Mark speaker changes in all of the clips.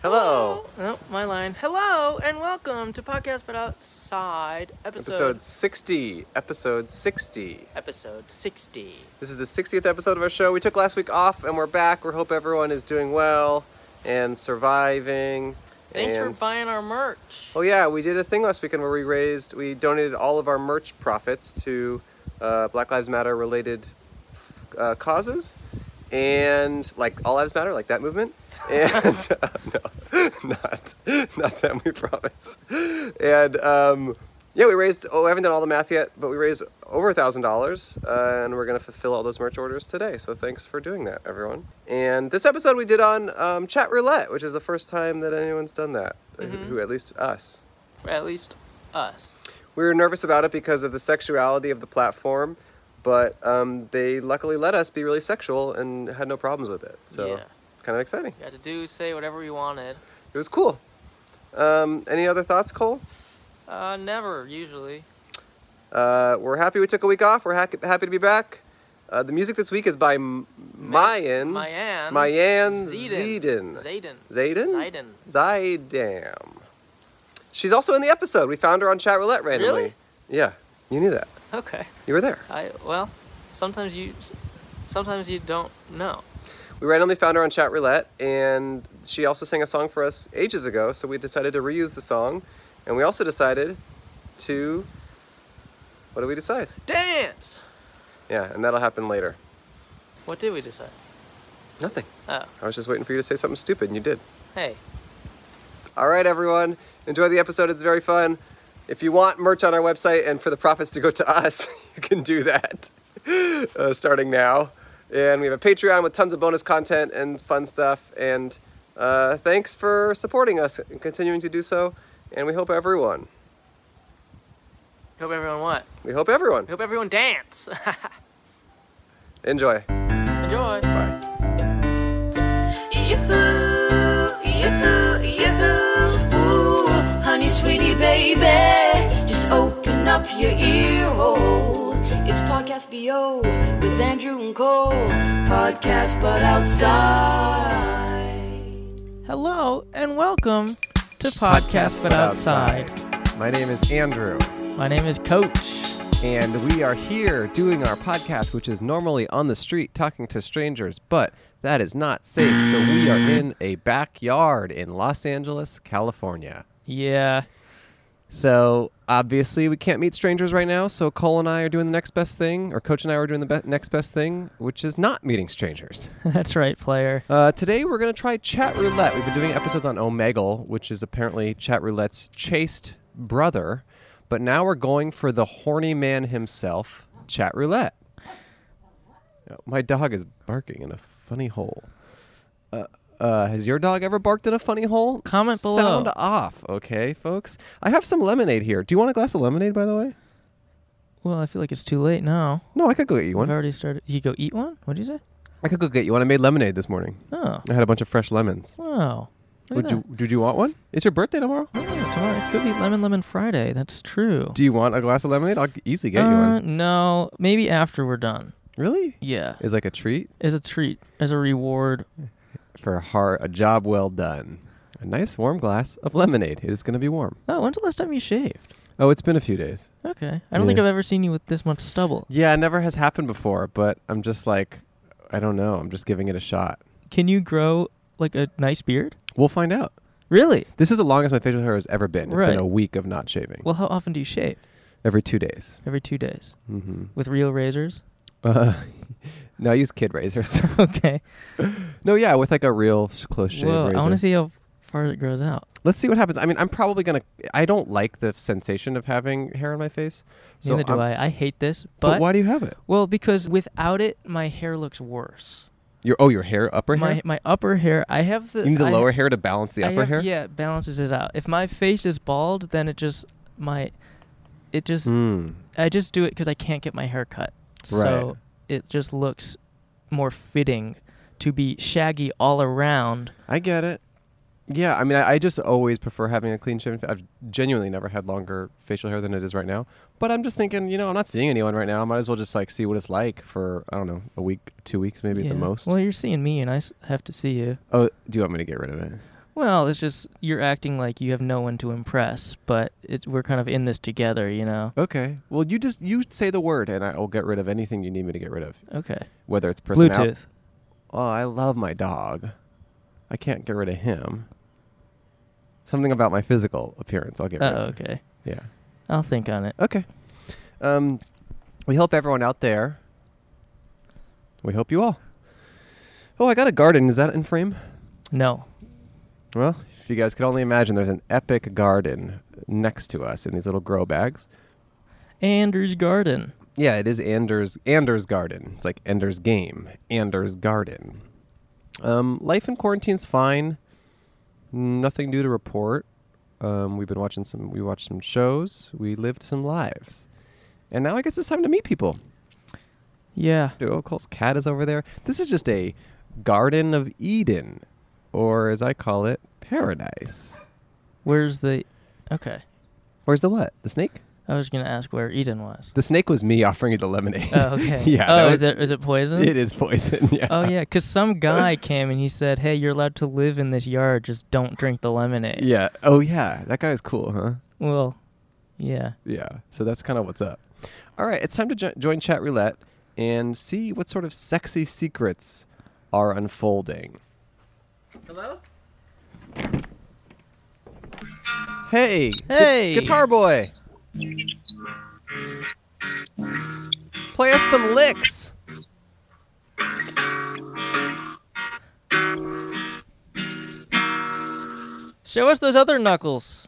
Speaker 1: Hello.
Speaker 2: Oh, my line. Hello and welcome to Podcast But Outside, episode
Speaker 1: Episode 60. Episode 60.
Speaker 2: episode 60.
Speaker 1: This is the 60th episode of our show. We took last week off and we're back. We hope everyone is doing well and surviving.
Speaker 2: Thanks
Speaker 1: and...
Speaker 2: for buying our merch.
Speaker 1: Oh, yeah, we did a thing last weekend where we raised, we donated all of our merch profits to uh, Black Lives Matter related uh, causes and like All Lives Matter, like that movement. And uh, no, not, not them, we promise. And um, yeah, we raised, oh, I haven't done all the math yet, but we raised over a $1,000 uh, and we're going to fulfill all those merch orders today. So thanks for doing that, everyone. And this episode we did on um, Chat Roulette, which is the first time that anyone's done that, uh, who- who at least us.
Speaker 2: For Mm-hmm. at least us.
Speaker 1: We were nervous about it because of the sexuality of the platform, but um, they luckily let us be really sexual and had no problems with it. So,
Speaker 2: Yeah.
Speaker 1: kind of exciting.
Speaker 2: You had to do, say whatever you wanted.
Speaker 1: It was cool. Um, any other thoughts, Cole?
Speaker 2: Uh, never, usually.
Speaker 1: Uh, we're happy we took a week off. We're hack happy to be back. Uh, the music this week is by M- Mayan.
Speaker 2: Mayan.
Speaker 1: Mayan
Speaker 2: Zayden.
Speaker 1: Zeden.
Speaker 2: Zayden.
Speaker 1: Zayden?
Speaker 2: Zayden.
Speaker 1: Zydam. She's also in the episode. We found her on Chat Roulette randomly.
Speaker 2: Really?
Speaker 1: Yeah. You knew that.
Speaker 2: Okay.
Speaker 1: You were there.
Speaker 2: I, well, sometimes you, sometimes you don't know.
Speaker 1: We randomly found her on Chat Roulette, and she also sang a song for us ages ago, so we decided to reuse the song. And we also decided to. What did we decide?
Speaker 2: Dance!
Speaker 1: Yeah, and that'll happen later.
Speaker 2: What did we decide?
Speaker 1: Nothing.
Speaker 2: Oh,
Speaker 1: I was just waiting for you to say something stupid, and you did.
Speaker 2: hey.
Speaker 1: All right, everyone. Enjoy the episode. It's very fun. If you want merch on our website and for the profits to go to us, you can do that uh, starting now. And we have a Patreon with tons of bonus content and fun stuff. And uh, thanks for supporting us and continuing to do so. And we hope everyone,
Speaker 2: Hope everyone what?
Speaker 1: we hope everyone
Speaker 2: Hope everyone dance!
Speaker 1: enjoy.
Speaker 2: Enjoy!
Speaker 1: Bye.
Speaker 3: Yoo-hoo, yoo-hoo, yoo-hoo. Ooh, honey, sweetie, baby, just open up your ear hole. It's Podcast BO with Andrew and Cole. Podcast, but outside.
Speaker 2: Hello and welcome to Podcast But Outside.
Speaker 1: My name is Andrew.
Speaker 2: My name is Coach.
Speaker 1: And we are here doing our podcast, which is normally on the street talking to strangers, but that is not safe. So we are in a backyard in Los Angeles, California.
Speaker 2: Yeah.
Speaker 1: So obviously, we can't meet strangers right now. So Cole and I are doing the next best thing, or Coach and I are doing the be- next best thing, which is not meeting strangers.
Speaker 2: That's right, player.
Speaker 1: Uh, today, we're going to try Chat Roulette. We've been doing episodes on Omegle, which is apparently Chat Roulette's chaste brother. But now we're going for the horny man himself, Chat Roulette. Oh, My dog is barking in a funny hole. Uh, uh, has your dog ever barked in a funny hole?
Speaker 2: Comment below.
Speaker 1: Sound off, okay, folks? I have some lemonade here. Do you want a glass of lemonade, by the way?
Speaker 2: Well, I feel like it's too late now.
Speaker 1: No, I could go get you
Speaker 2: I've
Speaker 1: one.
Speaker 2: already started. You go eat one? What did you say?
Speaker 1: I could go get you one. I made lemonade this morning.
Speaker 2: Oh.
Speaker 1: I had a bunch of fresh lemons.
Speaker 2: Wow. Look
Speaker 1: Would
Speaker 2: at
Speaker 1: you? Did you want one? It's your birthday tomorrow.
Speaker 2: that. Oh, tomorrow it could be Lemon Lemon Friday. That's true.
Speaker 1: Do you want a glass of lemonade? I'll g- easily get you
Speaker 2: Uh,
Speaker 1: one.
Speaker 2: no, maybe after we're done.
Speaker 1: Really?
Speaker 2: Yeah.
Speaker 1: Is like a treat
Speaker 2: As a treat, as a reward.
Speaker 1: for a hard, a job well done. A nice warm glass of lemonade. It is going to be warm.
Speaker 2: Oh, when's the last time you shaved?
Speaker 1: Oh, it's been a few days.
Speaker 2: Okay. I don't think
Speaker 1: Yeah.
Speaker 2: I've ever seen you with this much stubble.
Speaker 1: Yeah, it never has happened before, but I'm just like, I don't know. I'm just giving it a shot.
Speaker 2: Can you grow like a nice beard?
Speaker 1: We'll find out.
Speaker 2: Really?
Speaker 1: This is the longest my facial hair has ever been. It's
Speaker 2: Right.
Speaker 1: been a week of not shaving.
Speaker 2: Well, how often do you shave?
Speaker 1: Every two days.
Speaker 2: Every two days.
Speaker 1: Mm-hmm.
Speaker 2: With real razors?
Speaker 1: Uh, no, I use kid razors.
Speaker 2: Okay.
Speaker 1: no, yeah, with like a real s- close shave
Speaker 2: Whoa,
Speaker 1: razor.
Speaker 2: I want to see how far it grows out.
Speaker 1: Let's see what happens. I mean, I'm probably gonna. I don't like the sensation of having hair on my face. So
Speaker 2: Neither do
Speaker 1: I'm-
Speaker 2: I. I hate this,
Speaker 1: But,
Speaker 2: but,
Speaker 1: why do you have it?
Speaker 2: well, because without it, my hair looks worse.
Speaker 1: Your oh, your hair, upper
Speaker 2: my
Speaker 1: hair.
Speaker 2: my upper hair, I have the
Speaker 1: You need the
Speaker 2: I-
Speaker 1: lower hair to balance the
Speaker 2: I
Speaker 1: upper
Speaker 2: have-
Speaker 1: hair.
Speaker 2: Yeah, it balances it out. If my face is bald, then it just my it just
Speaker 1: Mm.
Speaker 2: I just do it because I can't get my hair cut.
Speaker 1: Right.
Speaker 2: So it just looks more fitting to be shaggy all around.
Speaker 1: I get it. Yeah, I mean, I, I just always prefer having a clean shaven. fa- I've genuinely never had longer facial hair than it is right now. But I'm just thinking, you know, I'm not seeing anyone right now. I might as well just like see what it's like for I don't know, a week, two weeks, maybe at
Speaker 2: Yeah.
Speaker 1: the most.
Speaker 2: Well, you're seeing me, and I s- have to see you.
Speaker 1: oh, do you want me to get rid of it?
Speaker 2: Well, it's just you're acting like you have no one to impress, but it, we're kind of in this together, you know.
Speaker 1: Okay. Well, you just you say the word, and I'll get rid of anything you need me to get rid of,
Speaker 2: Okay.
Speaker 1: whether it's personal.
Speaker 2: Bluetooth.
Speaker 1: Oh, I love my dog. I can't get rid of him. Something about my physical appearance. I'll get rid
Speaker 2: Oh,
Speaker 1: of.
Speaker 2: okay.
Speaker 1: Yeah.
Speaker 2: I'll think on it.
Speaker 1: Okay. Um, we hope everyone out there. We hope you all. Oh, I got a garden. Is that in frame?
Speaker 2: No.
Speaker 1: Well, if you guys could only imagine, there's an epic garden next to us in these little grow bags.
Speaker 2: Andrew's Garden.
Speaker 1: Yeah, it is Anders Anders Garden. It's like Ender's Game, Anders Garden. Um, life in quarantine's fine. Nothing new to report. Um, we've been watching some. We watched some shows. We lived some lives, and now I guess it's time to meet people.
Speaker 2: Yeah.
Speaker 1: Dude, Oh, Cole's cat is over there. This is just a Garden of Eden, or as I call it, paradise.
Speaker 2: Where's the? Okay.
Speaker 1: Where's the what? Uh, The snake?
Speaker 2: I was gonna ask where Eden was.
Speaker 1: The snake was me offering you the lemonade.
Speaker 2: Oh, okay.
Speaker 1: yeah. that
Speaker 2: Oh,
Speaker 1: was-
Speaker 2: is it is it poison?
Speaker 1: It is poison. Yeah.
Speaker 2: Oh yeah, because some guy came and he said, "Hey, you're allowed to live in this yard. Just don't drink the lemonade."
Speaker 1: Yeah. Oh yeah. That guy's cool, huh?
Speaker 2: Well, yeah.
Speaker 1: Yeah. So that's kind of what's up. All right, it's time to jo- join Chat Roulette and see what sort of sexy secrets are unfolding.
Speaker 2: Hello.
Speaker 1: Hey. gu-
Speaker 2: Hey.
Speaker 1: guitar boy. Play us some licks.
Speaker 2: Show us those other knuckles.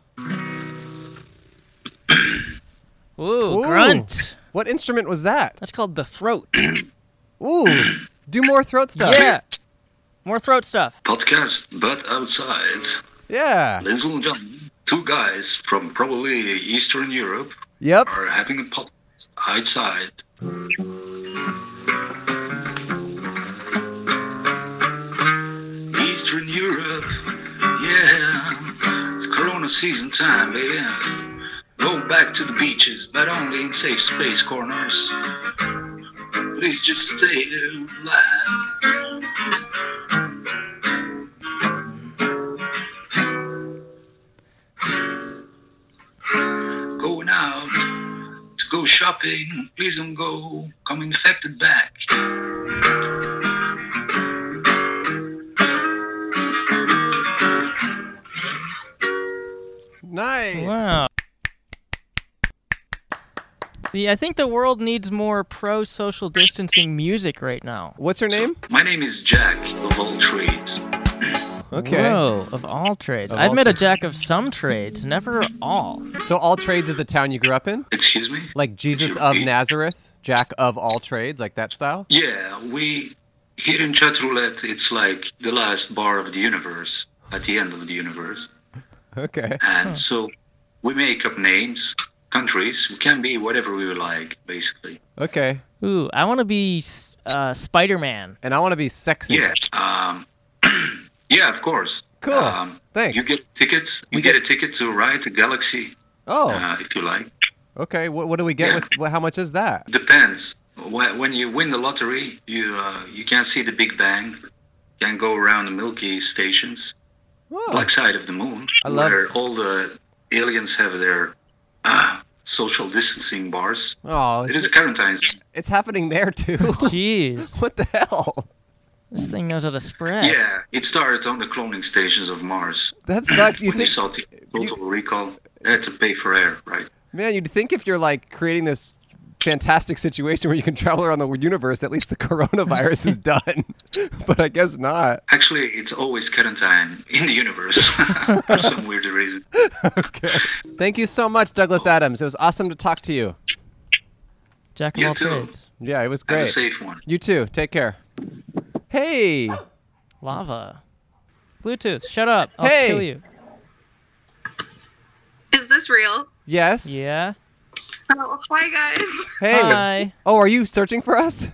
Speaker 2: Ooh,
Speaker 1: Ooh.
Speaker 2: grunt.
Speaker 1: What instrument was that?
Speaker 2: That's called the throat.
Speaker 1: Ooh. Do more throat stuff.
Speaker 2: yeah. More throat stuff.
Speaker 4: Podcast, but outside.
Speaker 1: Yeah.
Speaker 4: Ladies and gentlemen, two guys from probably Eastern Europe
Speaker 1: Yep.
Speaker 4: are having a podcast outside. Eastern Europe, yeah. It's Corona season time, baby. Go back to the beaches, but only in safe space corners. Please just stay alive. going out to go shopping. Please don't go coming affected back.
Speaker 1: Nice.
Speaker 2: Wow. Yeah, I think the world needs more pro social distancing music right now.
Speaker 1: What's your name?
Speaker 4: My name is Jack of all trades.
Speaker 1: Okay.
Speaker 2: Whoa, of all trades.
Speaker 1: Of
Speaker 2: I've
Speaker 1: all
Speaker 2: met a jack of some trades, never all.
Speaker 1: So all trades is the town you grew up in?
Speaker 4: Excuse me?
Speaker 1: Like Jesus of Nazareth, Jack of all trades, like that style?
Speaker 4: Yeah, we here in Chat Roulette, it's like the last bar of the universe at the end of the universe.
Speaker 1: Okay.
Speaker 4: And so we make up names, countries. We can be whatever we like, basically.
Speaker 1: Okay.
Speaker 2: Ooh, I want to be s- uh, Spider Man.
Speaker 1: And I want to be sexy.
Speaker 4: Yeah. Um, yeah, of course.
Speaker 1: Cool.
Speaker 4: Um,
Speaker 1: Thanks.
Speaker 4: You get tickets. You
Speaker 1: We
Speaker 4: get,
Speaker 1: get-
Speaker 4: a ticket to ride the galaxy,
Speaker 1: Oh,
Speaker 4: uh, if you like.
Speaker 1: okay. What, what do we get
Speaker 4: yeah.
Speaker 1: with what, how much is that?
Speaker 4: Depends. Wh- When you win the lottery, you uh, you can see the Big Bang. You can go around the Milky stations,
Speaker 1: Oh,
Speaker 4: black side of the moon,
Speaker 1: I love-
Speaker 4: where all the aliens have their uh, social distancing bars.
Speaker 1: oh
Speaker 4: It is
Speaker 1: it's,
Speaker 4: quarantine.
Speaker 1: it's happening there too.
Speaker 2: Jeez,
Speaker 1: what the hell?
Speaker 2: this thing knows how to spread.
Speaker 4: Yeah, it started on the cloning stations of Mars.
Speaker 1: That sucks. You
Speaker 4: when they
Speaker 1: think,
Speaker 4: saw the total recall, they had to pay for air, right?
Speaker 1: man, you'd think if you're like creating this fantastic situation where you can travel around the universe, at least the coronavirus is done. but I guess not.
Speaker 4: Actually, it's always quarantine in the universe for some weird reason.
Speaker 1: Okay. Thank you so much, Douglas Adams. It was awesome to talk to you.
Speaker 2: Jack of
Speaker 4: You
Speaker 2: all
Speaker 4: too.
Speaker 2: trades.
Speaker 1: Yeah, it was
Speaker 4: Have a
Speaker 1: great.
Speaker 4: safe one.
Speaker 1: You too. Take care. Hey.
Speaker 2: Lava. Bluetooth, shut up. I'll
Speaker 1: Hey.
Speaker 2: kill you.
Speaker 5: Is this real?
Speaker 1: Yes.
Speaker 2: Yeah.
Speaker 5: Oh, hi guys.
Speaker 1: Hey.
Speaker 2: Hi.
Speaker 1: Oh, are you searching for us?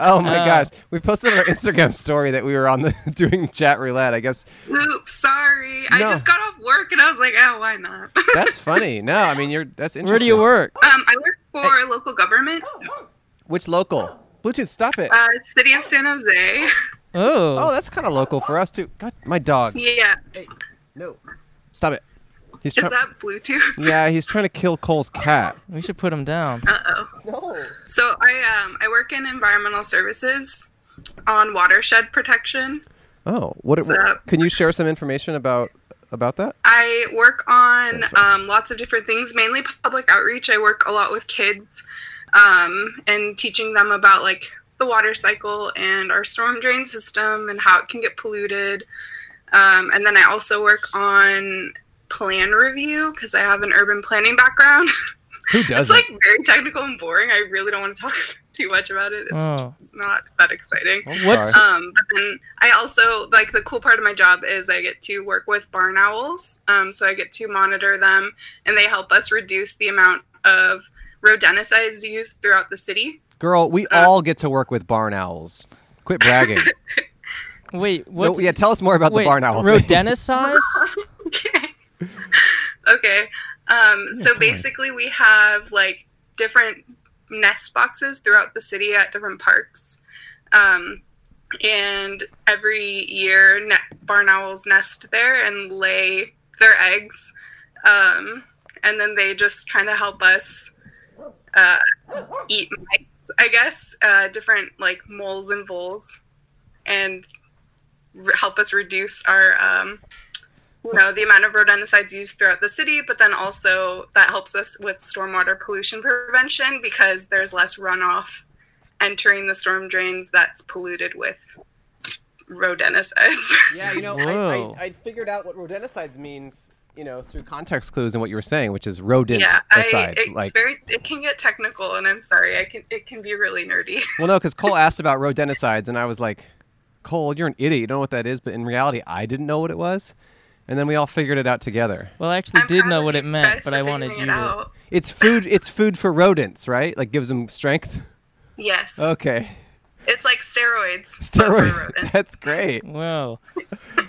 Speaker 1: Oh my
Speaker 2: Uh,
Speaker 1: gosh. We posted on our Instagram story that we were on the doing chat roulette. I guess
Speaker 5: Oops, sorry. I
Speaker 1: No.
Speaker 5: just got off work and I was like, oh, why not? um,
Speaker 1: that's funny. No, I mean you're that's interesting.
Speaker 2: Where do you work?
Speaker 5: I work for local government,
Speaker 1: Which local? Bluetooth, stop it.
Speaker 5: uh, city of San Jose.
Speaker 2: Oh,
Speaker 1: Oh, that's kind of local for us too. God, my dog.
Speaker 5: Yeah.
Speaker 6: No.
Speaker 1: Stop it. He's
Speaker 5: Is
Speaker 1: trying.
Speaker 5: that Bluetooth?
Speaker 1: Yeah, he's trying to kill Cole's cat.
Speaker 2: we should put him down.
Speaker 5: Uh oh.
Speaker 6: No.
Speaker 5: So I um I work in environmental services on watershed protection.
Speaker 1: Oh, what?
Speaker 5: What's up?
Speaker 1: Can you share some information about about that?
Speaker 5: I work on
Speaker 1: That's right.
Speaker 5: um, lots of different things, mainly public outreach. I work a lot with kids um, and teaching them about like the water cycle and our storm drain system and how it can get polluted. Um, and then I also work on plan review because I have an urban planning background.
Speaker 1: Who
Speaker 5: it's
Speaker 1: does
Speaker 5: like very technical and boring. I really don't want to talk too much about it. It's
Speaker 2: Oh.
Speaker 5: not that exciting.
Speaker 2: What's-
Speaker 1: sorry.
Speaker 5: Um, but then I also like the cool part of my job is I get to work with barn owls. Um, so I get to monitor them, and they help us reduce the amount of rodenticides used throughout the city.
Speaker 1: Girl, we
Speaker 5: Uh,
Speaker 1: all get to work with barn owls. Quit bragging.
Speaker 2: Wait,
Speaker 1: no,
Speaker 2: what's
Speaker 1: yeah, tell us more about
Speaker 2: wait,
Speaker 1: the barn owl. thing.
Speaker 2: Rodenticide?
Speaker 5: okay. okay. Um, so
Speaker 1: go ahead.
Speaker 5: basically, we have like different nest boxes throughout the city at different parks. Um, and every year, ne- barn owls nest there and lay their eggs. Um, and then they just kind of help us uh, eat mites, I guess, uh, different like moles and voles, and re- help us reduce our um, you know the amount of rodenticides used throughout the city but then also that helps us with stormwater pollution prevention because there's less runoff entering the storm drains that's polluted with rodenticides
Speaker 6: Yeah, you know,
Speaker 2: Whoa.
Speaker 6: I, I, I figured out what rodenticides means, you know, through
Speaker 1: Context clues and what you were saying, which is rodent.
Speaker 5: yeah I,
Speaker 1: besides,
Speaker 5: it's
Speaker 1: like,
Speaker 5: very it can get technical and i'm sorry i can it can be really nerdy
Speaker 1: well, no, because Cole asked about rodenticides, and I was like, Cole, you're an idiot. You don't know what that is, but in reality, I didn't know what it was, and then we all figured it out together.
Speaker 2: Well, I actually
Speaker 5: I'm
Speaker 2: did
Speaker 5: proud
Speaker 2: know
Speaker 5: of
Speaker 2: what
Speaker 5: you
Speaker 2: it meant,
Speaker 5: guys
Speaker 2: but
Speaker 5: for
Speaker 2: I wanted
Speaker 5: figuring
Speaker 2: you
Speaker 5: it
Speaker 2: to.
Speaker 5: out.
Speaker 1: It's food. It's food for rodents, right? Like gives them strength.
Speaker 5: yes
Speaker 1: Okay,
Speaker 5: it's like steroids but for
Speaker 1: steroid.
Speaker 5: rodents.
Speaker 1: That's great.
Speaker 2: Whoa,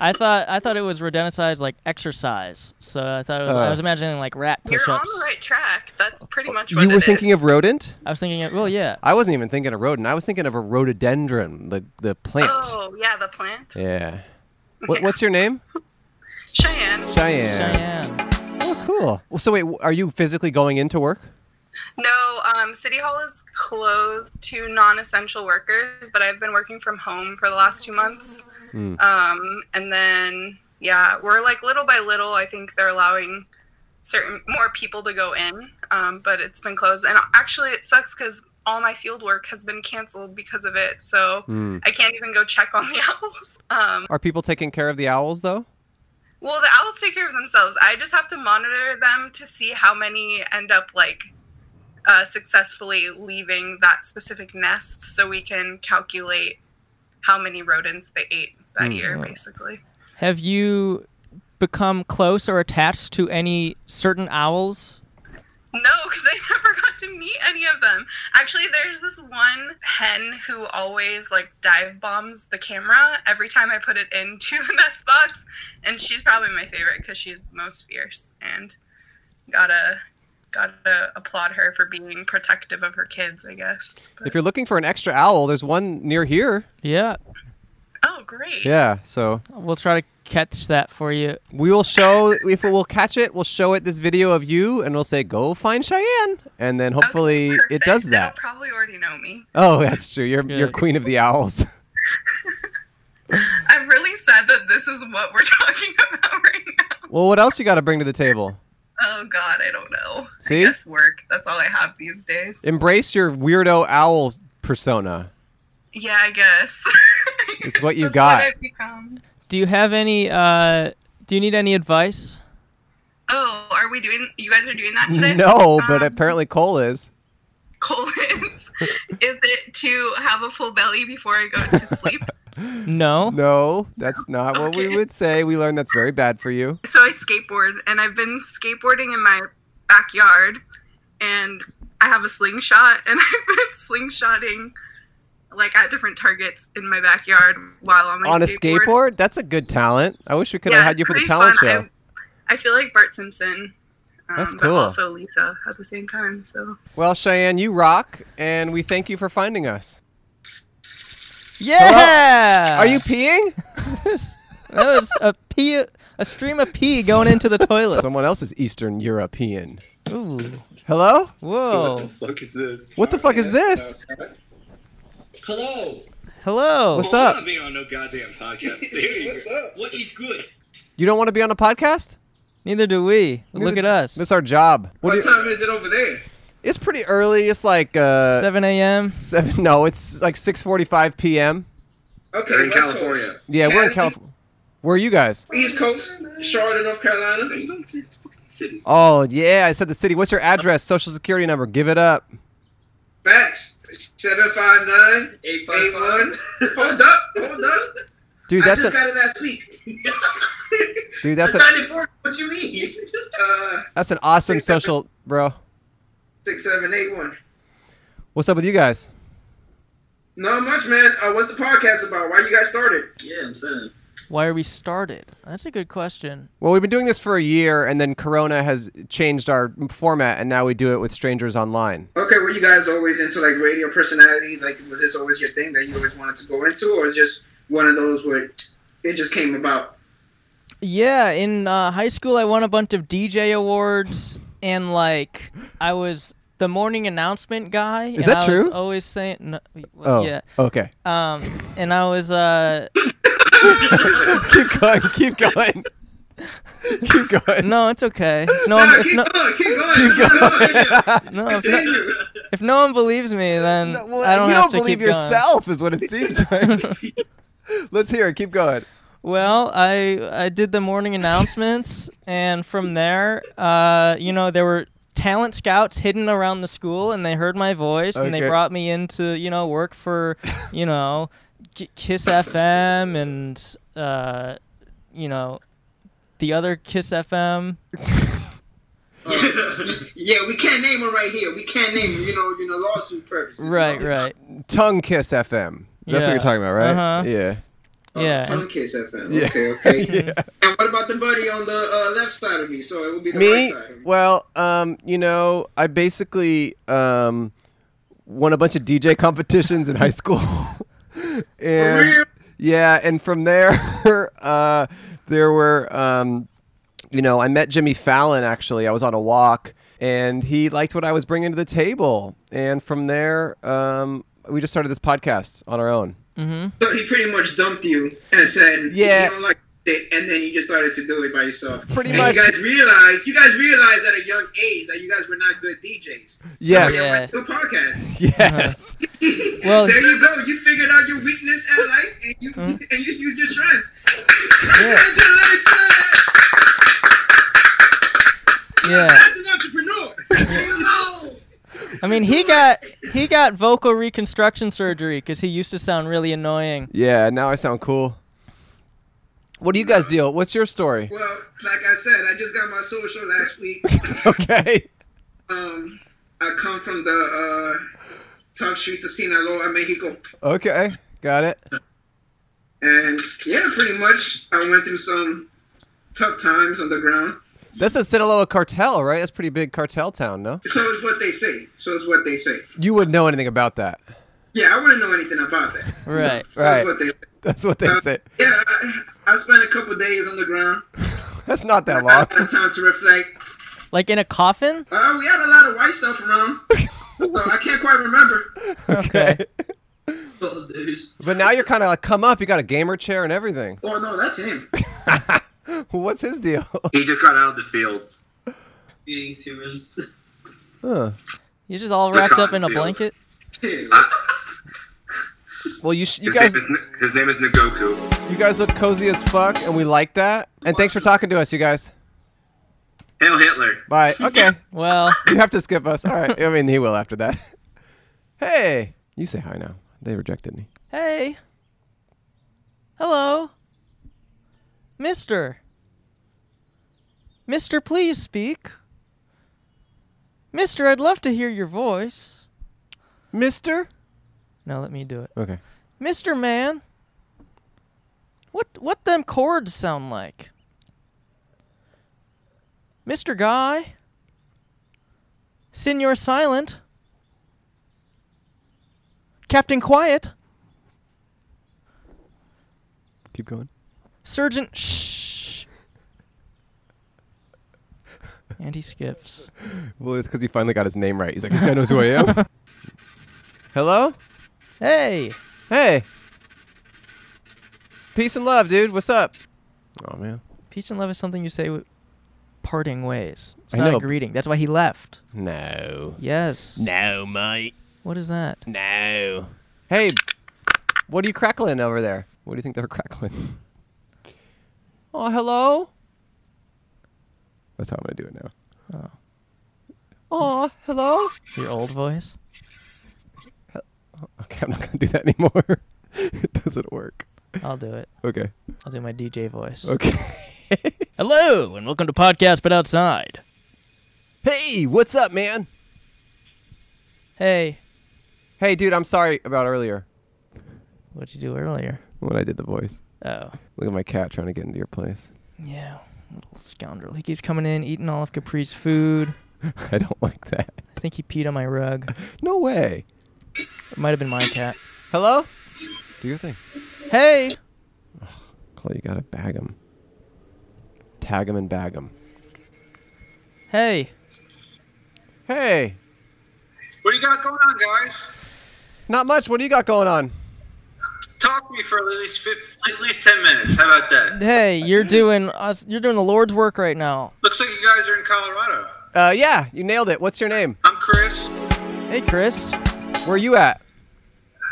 Speaker 2: I thought I thought it was rodenticide like exercise. So I thought it was,
Speaker 1: Uh.
Speaker 2: I was imagining like rat
Speaker 5: you're on
Speaker 2: push-ups.
Speaker 5: the right track that's pretty much what
Speaker 1: You
Speaker 5: it
Speaker 1: were
Speaker 5: is.
Speaker 1: thinking of rodent.
Speaker 2: I was thinking, well, yeah,
Speaker 1: I wasn't even thinking of rodent. I was thinking of a rhododendron, the the plant.
Speaker 5: oh yeah the plant
Speaker 1: Yeah. What, what's your name?
Speaker 5: cheyenne
Speaker 1: Cheyenne.
Speaker 2: Cheyenne.
Speaker 1: Oh, cool. Well, so wait, w- are you physically going into work?
Speaker 5: No, um, City Hall is closed to non essential workers, but I've been working from home for the last two months.
Speaker 1: Mm.
Speaker 5: Um, and then, yeah, we're like little by little, I think they're allowing certain more people to go in, um, but it's been closed. And actually, it sucks because all my field work has been canceled because of it. So
Speaker 1: Mm.
Speaker 5: I can't even go check on the owls. Um,
Speaker 1: Are people taking care of the owls though?
Speaker 5: well, the owls take care of themselves. I just have to monitor them to see how many end up like uh, successfully leaving that specific nest, so we can calculate how many rodents they ate that year,
Speaker 2: Mm-hmm.
Speaker 5: basically.
Speaker 2: Mm. Have you become close or attached to any certain owls?
Speaker 5: No, because I never got to meet any of them. Actually, there's this one hen who always like dive bombs the camera every time I put it into the nest box, and she's probably my favorite because she's the most fierce and gotta gotta applaud her for being protective of her kids, I guess.
Speaker 1: If
Speaker 5: But,
Speaker 1: you're looking for an extra owl, there's one near here.
Speaker 2: Yeah,
Speaker 5: oh, great!
Speaker 1: Yeah. So
Speaker 2: we'll try to catch that for you.
Speaker 1: we will show if we'll catch it. We'll show it this video of you, and we'll say, "Go find Cheyenne," and then
Speaker 5: Okay,
Speaker 1: hopefully it
Speaker 5: perfect.
Speaker 1: does
Speaker 5: They'll
Speaker 1: that.
Speaker 5: probably already know me.
Speaker 1: Oh, that's true. You're you're
Speaker 2: Good.
Speaker 1: queen of the owls.
Speaker 5: I'm really sad that this is what we're talking about right now.
Speaker 1: well, what else you got to bring to the table?
Speaker 5: Oh God, I don't know.
Speaker 1: See?
Speaker 5: I guess work. That's all I have these days.
Speaker 1: Embrace your weirdo owl persona.
Speaker 5: Yeah, I guess. I
Speaker 1: It's
Speaker 5: guess
Speaker 1: what you
Speaker 5: that's
Speaker 1: got.
Speaker 5: I've become.
Speaker 2: Do you have any? Uh, do you need any advice?
Speaker 5: Oh, are we doing? You guys are doing that today?
Speaker 1: No, Oh, but
Speaker 5: Um,
Speaker 1: apparently Cole is.
Speaker 5: colons. is it to have a full belly before I go to sleep?
Speaker 2: No.
Speaker 1: No, that's not what we
Speaker 5: Okay.
Speaker 1: would say. We learned that's very bad for you.
Speaker 5: so I skateboard, and I've been skateboarding in my backyard, and I have a slingshot, and I've been slingshotting like at different targets in my backyard while on my
Speaker 1: on a skateboard? That's a good talent. I wish we could
Speaker 5: Yeah,
Speaker 1: have had
Speaker 5: it's
Speaker 1: you for the
Speaker 5: pretty
Speaker 1: talent
Speaker 5: fun.
Speaker 1: show.
Speaker 5: I, I feel like Bart Simpson. Um,
Speaker 1: That's
Speaker 5: But
Speaker 1: cool.
Speaker 5: also Lisa at the same time. So
Speaker 1: Well, Cheyenne, you rock, and we thank you for finding us.
Speaker 2: Yeah.
Speaker 6: Are you peeing?
Speaker 2: that was a pee, a stream of pee going into the toilet.
Speaker 1: Someone else is Eastern European.
Speaker 2: Ooh.
Speaker 1: Hello?
Speaker 2: Whoa.
Speaker 7: What the fuck is this?
Speaker 1: What the fuck is this?
Speaker 7: Hello.
Speaker 2: Hello.
Speaker 1: What's
Speaker 8: I'm
Speaker 1: up?
Speaker 8: not being on no goddamn podcast.
Speaker 7: What's up?
Speaker 8: What is good?
Speaker 1: You don't want to be on a podcast?
Speaker 2: Neither do we. But Look at us.
Speaker 1: That's our job. What
Speaker 7: What
Speaker 1: do you-
Speaker 7: time is it over there?
Speaker 1: it's pretty early. It's like uh,
Speaker 2: 7 a.m.
Speaker 1: seven. No, it's like 6:45 p.m.
Speaker 7: Okay,
Speaker 8: They're in
Speaker 7: West
Speaker 8: California.
Speaker 7: Coast.
Speaker 1: Yeah, we're in California. Where are you guys?
Speaker 7: East Coast, Charlotte, North Carolina.
Speaker 8: You don't say it's fucking city.
Speaker 1: Oh yeah, I said the city. What's your address? Social security number. Give it up.
Speaker 7: Facts. 759 81.
Speaker 8: 855.
Speaker 7: Hold up. Hold up.
Speaker 1: Dude,
Speaker 7: I
Speaker 1: that's
Speaker 7: just
Speaker 1: a
Speaker 7: got it last week.
Speaker 1: dude. That's a
Speaker 8: It's not important. What you mean?
Speaker 7: Uh,
Speaker 1: that's an awesome
Speaker 7: Six separate-
Speaker 1: social, bro.
Speaker 7: 6781.
Speaker 1: What's up with you guys?
Speaker 7: Not much, man. Uh, what's the podcast about? Why you guys started?
Speaker 8: yeah, I'm saying.
Speaker 2: Why are we started? That's a good question.
Speaker 1: Well, we've been doing this for a year, and then Corona has changed our format, and now we do it with strangers online.
Speaker 7: Okay, were you guys always into like radio personality? Like, was this always your thing that you always wanted to go into, or is just one of those where it just came about?
Speaker 2: Yeah, in uh, high school, I won a bunch of DJ awards, and like I was the morning announcement guy. Is and
Speaker 1: that
Speaker 2: I Was
Speaker 1: true?
Speaker 2: always saying, no, well,
Speaker 1: Oh,
Speaker 2: yeah.
Speaker 1: okay.
Speaker 2: Um, and I was uh,
Speaker 1: keep going. Keep going. keep going.
Speaker 2: no, it's okay. No,
Speaker 7: Nah,
Speaker 2: if
Speaker 7: keep
Speaker 2: no,
Speaker 7: going, keep going, keep going.
Speaker 2: no, if no,
Speaker 7: Continue.
Speaker 2: if no one believes me, then
Speaker 1: Well,
Speaker 2: I don't
Speaker 1: you
Speaker 2: have
Speaker 1: don't
Speaker 2: to
Speaker 1: believe
Speaker 2: keep going.
Speaker 1: yourself, is what it seems like. Let's hear it. Keep going.
Speaker 2: Well, I I did the morning announcements, and from there, uh, you know, there were talent scouts hidden around the school, and they heard my voice, and they
Speaker 1: Okay.
Speaker 2: brought me in to you know work for, you know, K- Kiss FM and uh, you know, the other Kiss FM.
Speaker 7: yeah, we can't name him right here. We can't name him. You know, you know, lawsuit purposes.
Speaker 2: Right, right.
Speaker 1: Tongue Kiss FM. That's what
Speaker 2: Yeah.
Speaker 1: you're talking about, right?
Speaker 2: Uh-huh.
Speaker 1: Yeah.
Speaker 7: Oh,
Speaker 2: Yeah.
Speaker 7: Tongue kiss FM.
Speaker 1: Yeah.
Speaker 7: Okay, okay.
Speaker 1: yeah.
Speaker 7: And what about the buddy on the uh, left side of me? So it would be the
Speaker 1: Me?
Speaker 7: right side. Of me.
Speaker 1: Well, um, you know, I basically um, won a bunch of DJ competitions in high school. and
Speaker 7: real?
Speaker 1: yeah, and from there uh, there were um, you know, I met Jimmy Fallon actually. I was on a walk and he liked what I was bringing to the table. And from there um, we just started this podcast on our own.
Speaker 2: Mm-hmm.
Speaker 7: So he pretty much dumped you and said,
Speaker 1: Yeah.
Speaker 7: you don't like it," and then you just started to do it by yourself.
Speaker 1: Pretty
Speaker 7: and
Speaker 1: much.
Speaker 7: You guys realized, you guys realized at a young age that you guys were not good DJs. So
Speaker 1: Yes.
Speaker 7: you
Speaker 2: Yeah.
Speaker 7: went to a podcast.
Speaker 1: Yes.
Speaker 2: Well- Mm-hmm.
Speaker 7: there you go. You figured out your weakness at life, and you and you used your strengths. Congratulations!
Speaker 2: Yeah.
Speaker 7: That's an entrepreneur. no.
Speaker 2: I mean, he got he got vocal reconstruction surgery because he used to sound really annoying.
Speaker 1: yeah, now I sound cool. What do you guys deal? What's your story?
Speaker 7: Well, like I said, I just got my social last week.
Speaker 1: okay.
Speaker 7: Um, I come from the uh, tough streets of Sinaloa, Mexico,
Speaker 1: Okay. Got it.
Speaker 7: and yeah, pretty much I went through some tough times on the ground.
Speaker 1: That's the Sinaloa cartel, right? That's a pretty big cartel town, no?
Speaker 7: So it's what they say. So it's what they say.
Speaker 1: You wouldn't know anything about that.
Speaker 7: Yeah, I wouldn't know anything about that.
Speaker 2: Right.
Speaker 7: So
Speaker 1: Right.
Speaker 7: it's what they say.
Speaker 1: That's what they
Speaker 7: Uh,
Speaker 1: say.
Speaker 7: Yeah, I, I spent a couple days on the ground.
Speaker 1: That's not that
Speaker 7: I
Speaker 1: long.
Speaker 7: had time to reflect.
Speaker 2: Like in a coffin.
Speaker 7: Uh, we had a lot of white stuff around. so I can't quite remember.
Speaker 1: Okay.
Speaker 8: Oh, dudes.
Speaker 1: But now you're kind of like, come up. You got a gamer chair and everything.
Speaker 7: Oh no, that's him.
Speaker 1: What's his deal?
Speaker 8: He just got out of the fields. Being serious.
Speaker 1: Huh.
Speaker 2: You're just all wrapped up in a
Speaker 8: Cottonfield.
Speaker 2: blanket.
Speaker 7: Shit.
Speaker 1: Well, you sh- you
Speaker 8: His,
Speaker 1: guys
Speaker 8: name is, his name is Nagoku.
Speaker 1: you guys look cozy as fuck, and we like that. And thanks for talking to us, you guys.
Speaker 8: Hail Hitler.
Speaker 1: Bye. Okay.
Speaker 2: Well,
Speaker 1: You have to skip us. All right. I mean, he will after that. Hey, you say hi now. They rejected me.
Speaker 2: hey. Hello. Mister. Mister, please speak. Mister, I'd love to hear your voice.
Speaker 1: Mister.
Speaker 2: Now let me do it.
Speaker 1: Okay.
Speaker 2: Mister man. What what them chords sound like? Mister guy. Senor silent. Captain quiet.
Speaker 1: Keep going.
Speaker 2: Sergeant Shh. And he skips.
Speaker 1: Well, it's because he finally got his name right. He's like, this guy knows who I am. Hello?
Speaker 2: Hey,
Speaker 1: Hey. Peace and love, dude. What's up? Oh man.
Speaker 2: peace and love is something you say with parting ways. It's
Speaker 1: I
Speaker 2: not
Speaker 1: know.
Speaker 2: a greeting. That's why he left.
Speaker 1: No.
Speaker 2: Yes.
Speaker 1: No, mate.
Speaker 2: What is that?
Speaker 1: No. Hey, what are you crackling over there? What do you think they're crackling? Oh, hello. That's how I'm gonna do it now. Oh. hello.
Speaker 2: Your old voice?
Speaker 1: Okay, I'm not gonna do that anymore. it doesn't work.
Speaker 2: I'll do it.
Speaker 1: Okay.
Speaker 2: I'll do my DJ voice.
Speaker 1: Okay.
Speaker 2: Hello, and welcome to Podcast But Outside.
Speaker 1: hey, what's up, man?
Speaker 2: Hey,
Speaker 1: Hey, dude. I'm sorry about earlier
Speaker 2: what'd you do earlier?
Speaker 1: when I did the voice.
Speaker 2: Oh,
Speaker 1: Look at my cat trying to get into your place.
Speaker 2: yeah. Little scoundrel. He keeps coming in, eating all of Capri's food.
Speaker 1: I don't like that.
Speaker 2: I think he peed on my rug.
Speaker 1: No way.
Speaker 2: It might have been my cat.
Speaker 1: Hello? Do your thing.
Speaker 2: Hey!
Speaker 1: Cole, you gotta bag him. Tag him and bag him.
Speaker 2: Hey!
Speaker 1: Hey,
Speaker 8: What do you got going on, guys?
Speaker 1: not much. What do you got going on?
Speaker 8: Talk to me for at least fif- at least ten minutes. How about that?
Speaker 2: Hey, you're doing us you're doing the Lord's work right now.
Speaker 8: Looks like you guys are in Colorado.
Speaker 1: Uh, yeah, you nailed it. What's your name?
Speaker 8: I'm Chris.
Speaker 2: Hey Chris.
Speaker 1: Where you at?